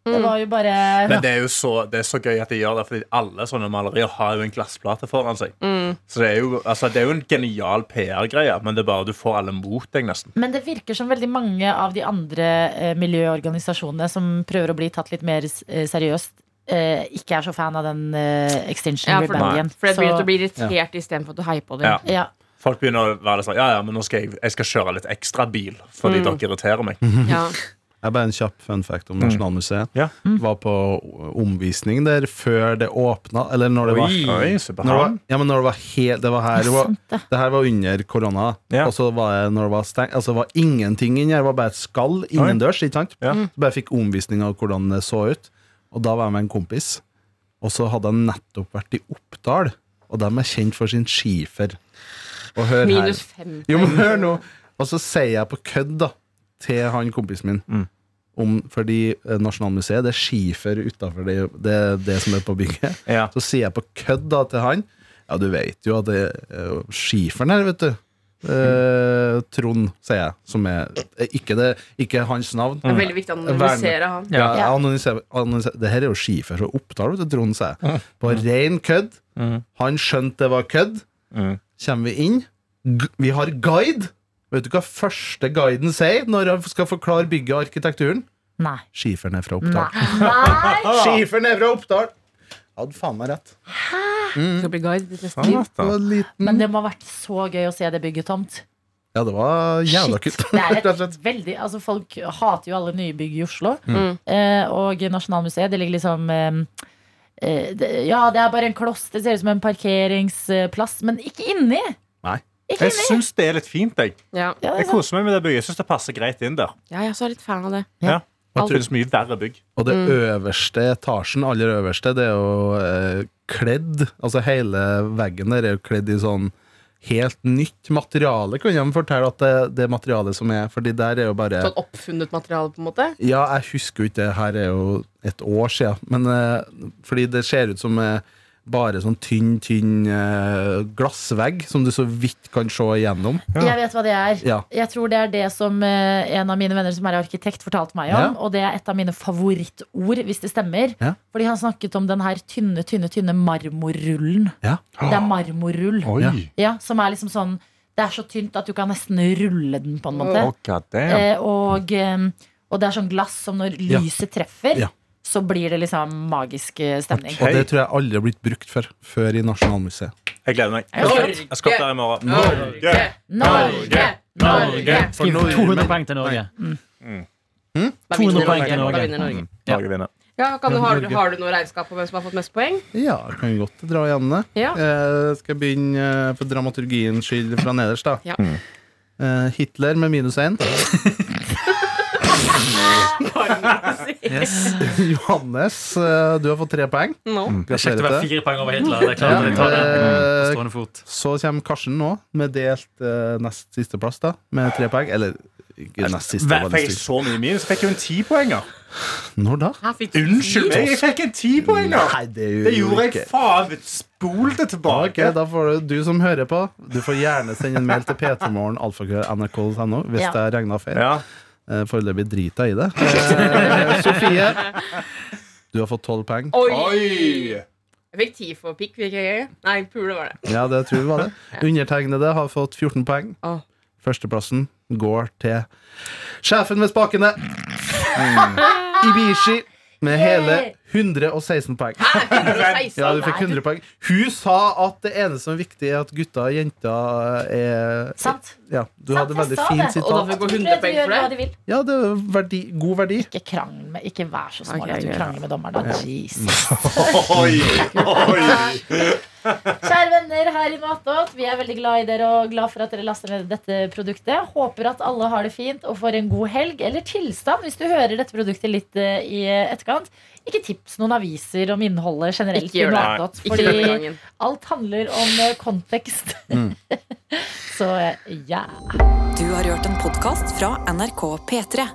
[SPEAKER 2] Det var jo bare
[SPEAKER 5] Mm.
[SPEAKER 3] Men det er jo så, det er så gøy at de gjør det, fordi alle sånne malerier har jo en glassplate foran seg. Så det er jo, altså, det er jo en genial PR-greie, men det er bare du får alle mot deg, nesten.
[SPEAKER 2] Men det virker som veldig mange av de andre eh, miljøorganisasjonene som prøver å bli tatt litt mer eh, seriøst, eh, ikke er så fan av den eh, Extinction
[SPEAKER 4] Ja, for,
[SPEAKER 2] Rebellion.
[SPEAKER 4] for det blir at
[SPEAKER 2] Så-
[SPEAKER 4] du blir irritert istedenfor at du heier på det.
[SPEAKER 3] Ja.
[SPEAKER 2] ja.
[SPEAKER 3] Folk begynner å være litt sånn Ja, ja, men nå skal jeg, jeg skal kjøre litt ekstra bil, fordi dere irriterer meg.
[SPEAKER 4] Ja.
[SPEAKER 5] Jeg bare en kjapp fun fact
[SPEAKER 3] Mm.
[SPEAKER 5] om Nasjonalmuseet.
[SPEAKER 3] Ja.
[SPEAKER 5] Var på omvisning der før det åpna, eller når det var
[SPEAKER 3] Oi,
[SPEAKER 5] når det var,
[SPEAKER 3] Subhaan.
[SPEAKER 5] ja, men når det var helt Det var her det var,
[SPEAKER 2] Sant det.
[SPEAKER 5] det her var under korona.
[SPEAKER 3] Ja.
[SPEAKER 5] Og så var det når det var stengt Altså det var ingenting inni her. Det var bare et skall innendørs. ikke sant?
[SPEAKER 3] Ja.
[SPEAKER 5] Så bare fikk omvisning av hvordan det så ut. Og da var jeg med en kompis. Og så hadde jeg nettopp vært i Oppdal, og de er kjent for sin skifer. Og hør her.
[SPEAKER 4] Minus fem.
[SPEAKER 5] Jo, men hør nå Og så sier jeg på kødd da Til han kompisen min om, Fordi eh, Nasjonalmuseet Det er skifer utenfor det, det, det som er på bygget
[SPEAKER 3] Ja.
[SPEAKER 5] Så sier jeg på kødd da til han Ja, du vet jo at det er skiferen her, vet du eh, Trond, sier jeg Som er eh, ikke, det, ikke hans navn
[SPEAKER 4] Det er veldig viktig å analysere han.
[SPEAKER 5] ja, jeg anonymiserer- anonymiserer- Det her er jo skifer fra Oppdal, vet du, Trond, sier jeg. På ren kødd. Han skjønte det var kødd.
[SPEAKER 3] Mm.
[SPEAKER 5] Kommer vi inn. G vi har guide. Vet du hva første guiden sier når han skal forklare bygget og arkitekturen?
[SPEAKER 2] Nei.
[SPEAKER 4] Mm.
[SPEAKER 5] Skiferen er fra
[SPEAKER 2] Nei.
[SPEAKER 5] Oppdal.
[SPEAKER 2] Nei.
[SPEAKER 5] Skiferen er fra Oppdal! Jeg hadde faen meg rett.
[SPEAKER 4] Du skal bli guide ditt neste liv.
[SPEAKER 3] Faen,
[SPEAKER 5] Det
[SPEAKER 3] da.
[SPEAKER 5] var liten.
[SPEAKER 2] Men det må ha vært så gøy å se det bygget tomt.
[SPEAKER 5] Ja, det var jævla
[SPEAKER 2] Shit.
[SPEAKER 5] kult.
[SPEAKER 2] Det er
[SPEAKER 5] Rett og
[SPEAKER 2] et
[SPEAKER 5] slett. Mm.
[SPEAKER 2] veldig, altså folk hater jo alle nye bygg i Oslo. Eh, og Nasjonalmuseet, det ligger liksom eh, eh, det- Ja, det er bare en kloss. Det ser ut som en parkeringsplass, men ikke inni.
[SPEAKER 5] Nei.
[SPEAKER 2] Ikke
[SPEAKER 3] Jeg
[SPEAKER 2] inni.
[SPEAKER 3] syns det er litt fint. Jeg
[SPEAKER 4] Ja.
[SPEAKER 2] Ja, det er
[SPEAKER 3] Jeg
[SPEAKER 2] sant.
[SPEAKER 3] koser meg med det bygget. Jeg syns det passer greit inn der.
[SPEAKER 4] ja, jeg er så litt fan av det.
[SPEAKER 3] Ja.
[SPEAKER 5] Alt-
[SPEAKER 3] Jeg synes mye verre bygg.
[SPEAKER 5] Og det øverste etasjen, aller øverste, det er jo eh, kledd Altså hele veggen der er jo kledd i sånn helt nytt materiale, kunne de fortelle at det, det materialet som er Fordi der er jo bare
[SPEAKER 4] Sånn oppfunnet materiale, på en måte.
[SPEAKER 5] Ja, jeg husker jo ikke det. Her er jo et år siden. Men eh, fordi det ser ut som eh, bare sånn tynn, tynn eh, glassvegg som du så vidt kan se igjennom.
[SPEAKER 2] Jeg vet hva det er.
[SPEAKER 5] Ja.
[SPEAKER 2] Jeg tror det er det som eh, en av mine venner som er arkitekt, fortalte meg om. Og det er et av mine favorittord, hvis det stemmer.
[SPEAKER 5] Ja.
[SPEAKER 2] Fordi han snakket om den her tynne, tynne, tynne marmorrullen.
[SPEAKER 5] Ja.
[SPEAKER 2] Det er marmorrull.
[SPEAKER 5] Ja.
[SPEAKER 2] Ja, som er liksom sånn Det er så tynt at du kan nesten rulle den, på en måte.
[SPEAKER 7] Oh, God damn.
[SPEAKER 2] Eh, og, eh, og det er sånn glass som når
[SPEAKER 5] Ja.
[SPEAKER 2] lyset treffer,
[SPEAKER 5] Ja.
[SPEAKER 2] så blir det liksom magisk eh, stemning.
[SPEAKER 5] Og det tror jeg aldri har blitt brukt før. Før i Nasjonalmuseet.
[SPEAKER 3] Jeg gleder meg.
[SPEAKER 2] Er det sant?
[SPEAKER 3] Jeg skal opp der i morgen.
[SPEAKER 2] Norge!
[SPEAKER 6] Norge!
[SPEAKER 5] For Norge.
[SPEAKER 6] 200 poeng til Norge.
[SPEAKER 4] Da vinner
[SPEAKER 6] 200 poeng
[SPEAKER 4] Norge.
[SPEAKER 6] til Norge.
[SPEAKER 4] Da vinner Norge.
[SPEAKER 6] Ja.
[SPEAKER 3] Norge vinner.
[SPEAKER 4] Ja, kan du, har,
[SPEAKER 5] Norge.
[SPEAKER 4] har du noe regnskap på hvem som har fått mest poeng?
[SPEAKER 5] Ja, kan vi godt dra igjen det.
[SPEAKER 4] Ja.
[SPEAKER 5] Eh, skal jeg begynne eh, for dramaturgiens skyld fra nederst, da?
[SPEAKER 4] Ja.
[SPEAKER 5] Eh, Hitler med minus én.
[SPEAKER 6] Yes.
[SPEAKER 5] Johannes, eh, du har fått tre poeng.
[SPEAKER 4] No.
[SPEAKER 6] Kjekt å være fire Mm. poeng over Hitler. Det er klart
[SPEAKER 5] Ja.
[SPEAKER 6] jeg tar det
[SPEAKER 5] Eh,
[SPEAKER 6] på stående fot.
[SPEAKER 5] Så kommer Karsten nå, med delt eh, nest siste plass, da, med tre poeng. Eller ikke nest siste.
[SPEAKER 6] Hver
[SPEAKER 5] var det
[SPEAKER 3] Fikk jeg
[SPEAKER 5] siste.
[SPEAKER 3] så mye minus? Fikk jeg jo en tipoenger.
[SPEAKER 5] Når da?
[SPEAKER 4] Her fikk
[SPEAKER 3] Unnskyld meg, jeg fikk en tipoenger!
[SPEAKER 5] Nei, det,
[SPEAKER 3] Det gjorde jeg
[SPEAKER 5] ikke.
[SPEAKER 3] faen Spol det
[SPEAKER 5] Ok,
[SPEAKER 3] tilbake.
[SPEAKER 5] da får du, du som hører på, du får gjerne sende en mail til p3morgen.nrk.no hvis
[SPEAKER 2] Ja.
[SPEAKER 5] det har regna feil.
[SPEAKER 3] Ja.
[SPEAKER 5] Eh, Foreløpig driter jeg i det. Eh, Sofie, du har fått tolv poeng.
[SPEAKER 4] Oi!
[SPEAKER 3] Oi!
[SPEAKER 4] Jeg fikk ti for pikk. Fikk jeg ikke? Nei, pule var det.
[SPEAKER 5] Ja, det tror vi var det. Undertegnede har fått 14 poeng.
[SPEAKER 4] Åh.
[SPEAKER 5] Førsteplassen går til sjefen ved spakene. Ibishi med hele 116 poeng. Ja, du fikk 100 poeng. Hun sa at det eneste som er viktig, er at gutter og jenter er
[SPEAKER 2] Sant?
[SPEAKER 5] Ja, du
[SPEAKER 2] Sant,
[SPEAKER 5] hadde
[SPEAKER 2] jeg
[SPEAKER 5] veldig
[SPEAKER 2] sa
[SPEAKER 5] fint
[SPEAKER 2] det.
[SPEAKER 4] Og da
[SPEAKER 5] sitat.
[SPEAKER 4] fikk hun
[SPEAKER 2] Fred,
[SPEAKER 4] 100 poeng
[SPEAKER 2] gjør
[SPEAKER 4] for
[SPEAKER 2] hva
[SPEAKER 4] det.
[SPEAKER 2] du vil.
[SPEAKER 5] Ja, det er verdi, god verdi.
[SPEAKER 2] Ikke krangel med Ikke vær så smal
[SPEAKER 4] Ok,
[SPEAKER 2] at du
[SPEAKER 4] ja.
[SPEAKER 2] krangler med dommeren. da. Jesus.
[SPEAKER 3] Oi! Oi!
[SPEAKER 2] Kjære venner her i Matot, vi er veldig glad i dere og glad for at dere laster ned dette produktet. Håper at alle har det fint og får en god helg eller tilstand hvis du hører dette produktet litt eh, i etterkant. Ikke tips noen aviser om innholdet generelt
[SPEAKER 4] Ikke gjør
[SPEAKER 2] i
[SPEAKER 4] det.
[SPEAKER 2] Matot,
[SPEAKER 4] Ikke denne
[SPEAKER 2] fordi
[SPEAKER 4] gangen.
[SPEAKER 2] alt handler om eh, kontekst. Så eh, ja.
[SPEAKER 1] Du har hørt en podkast fra NRK P3.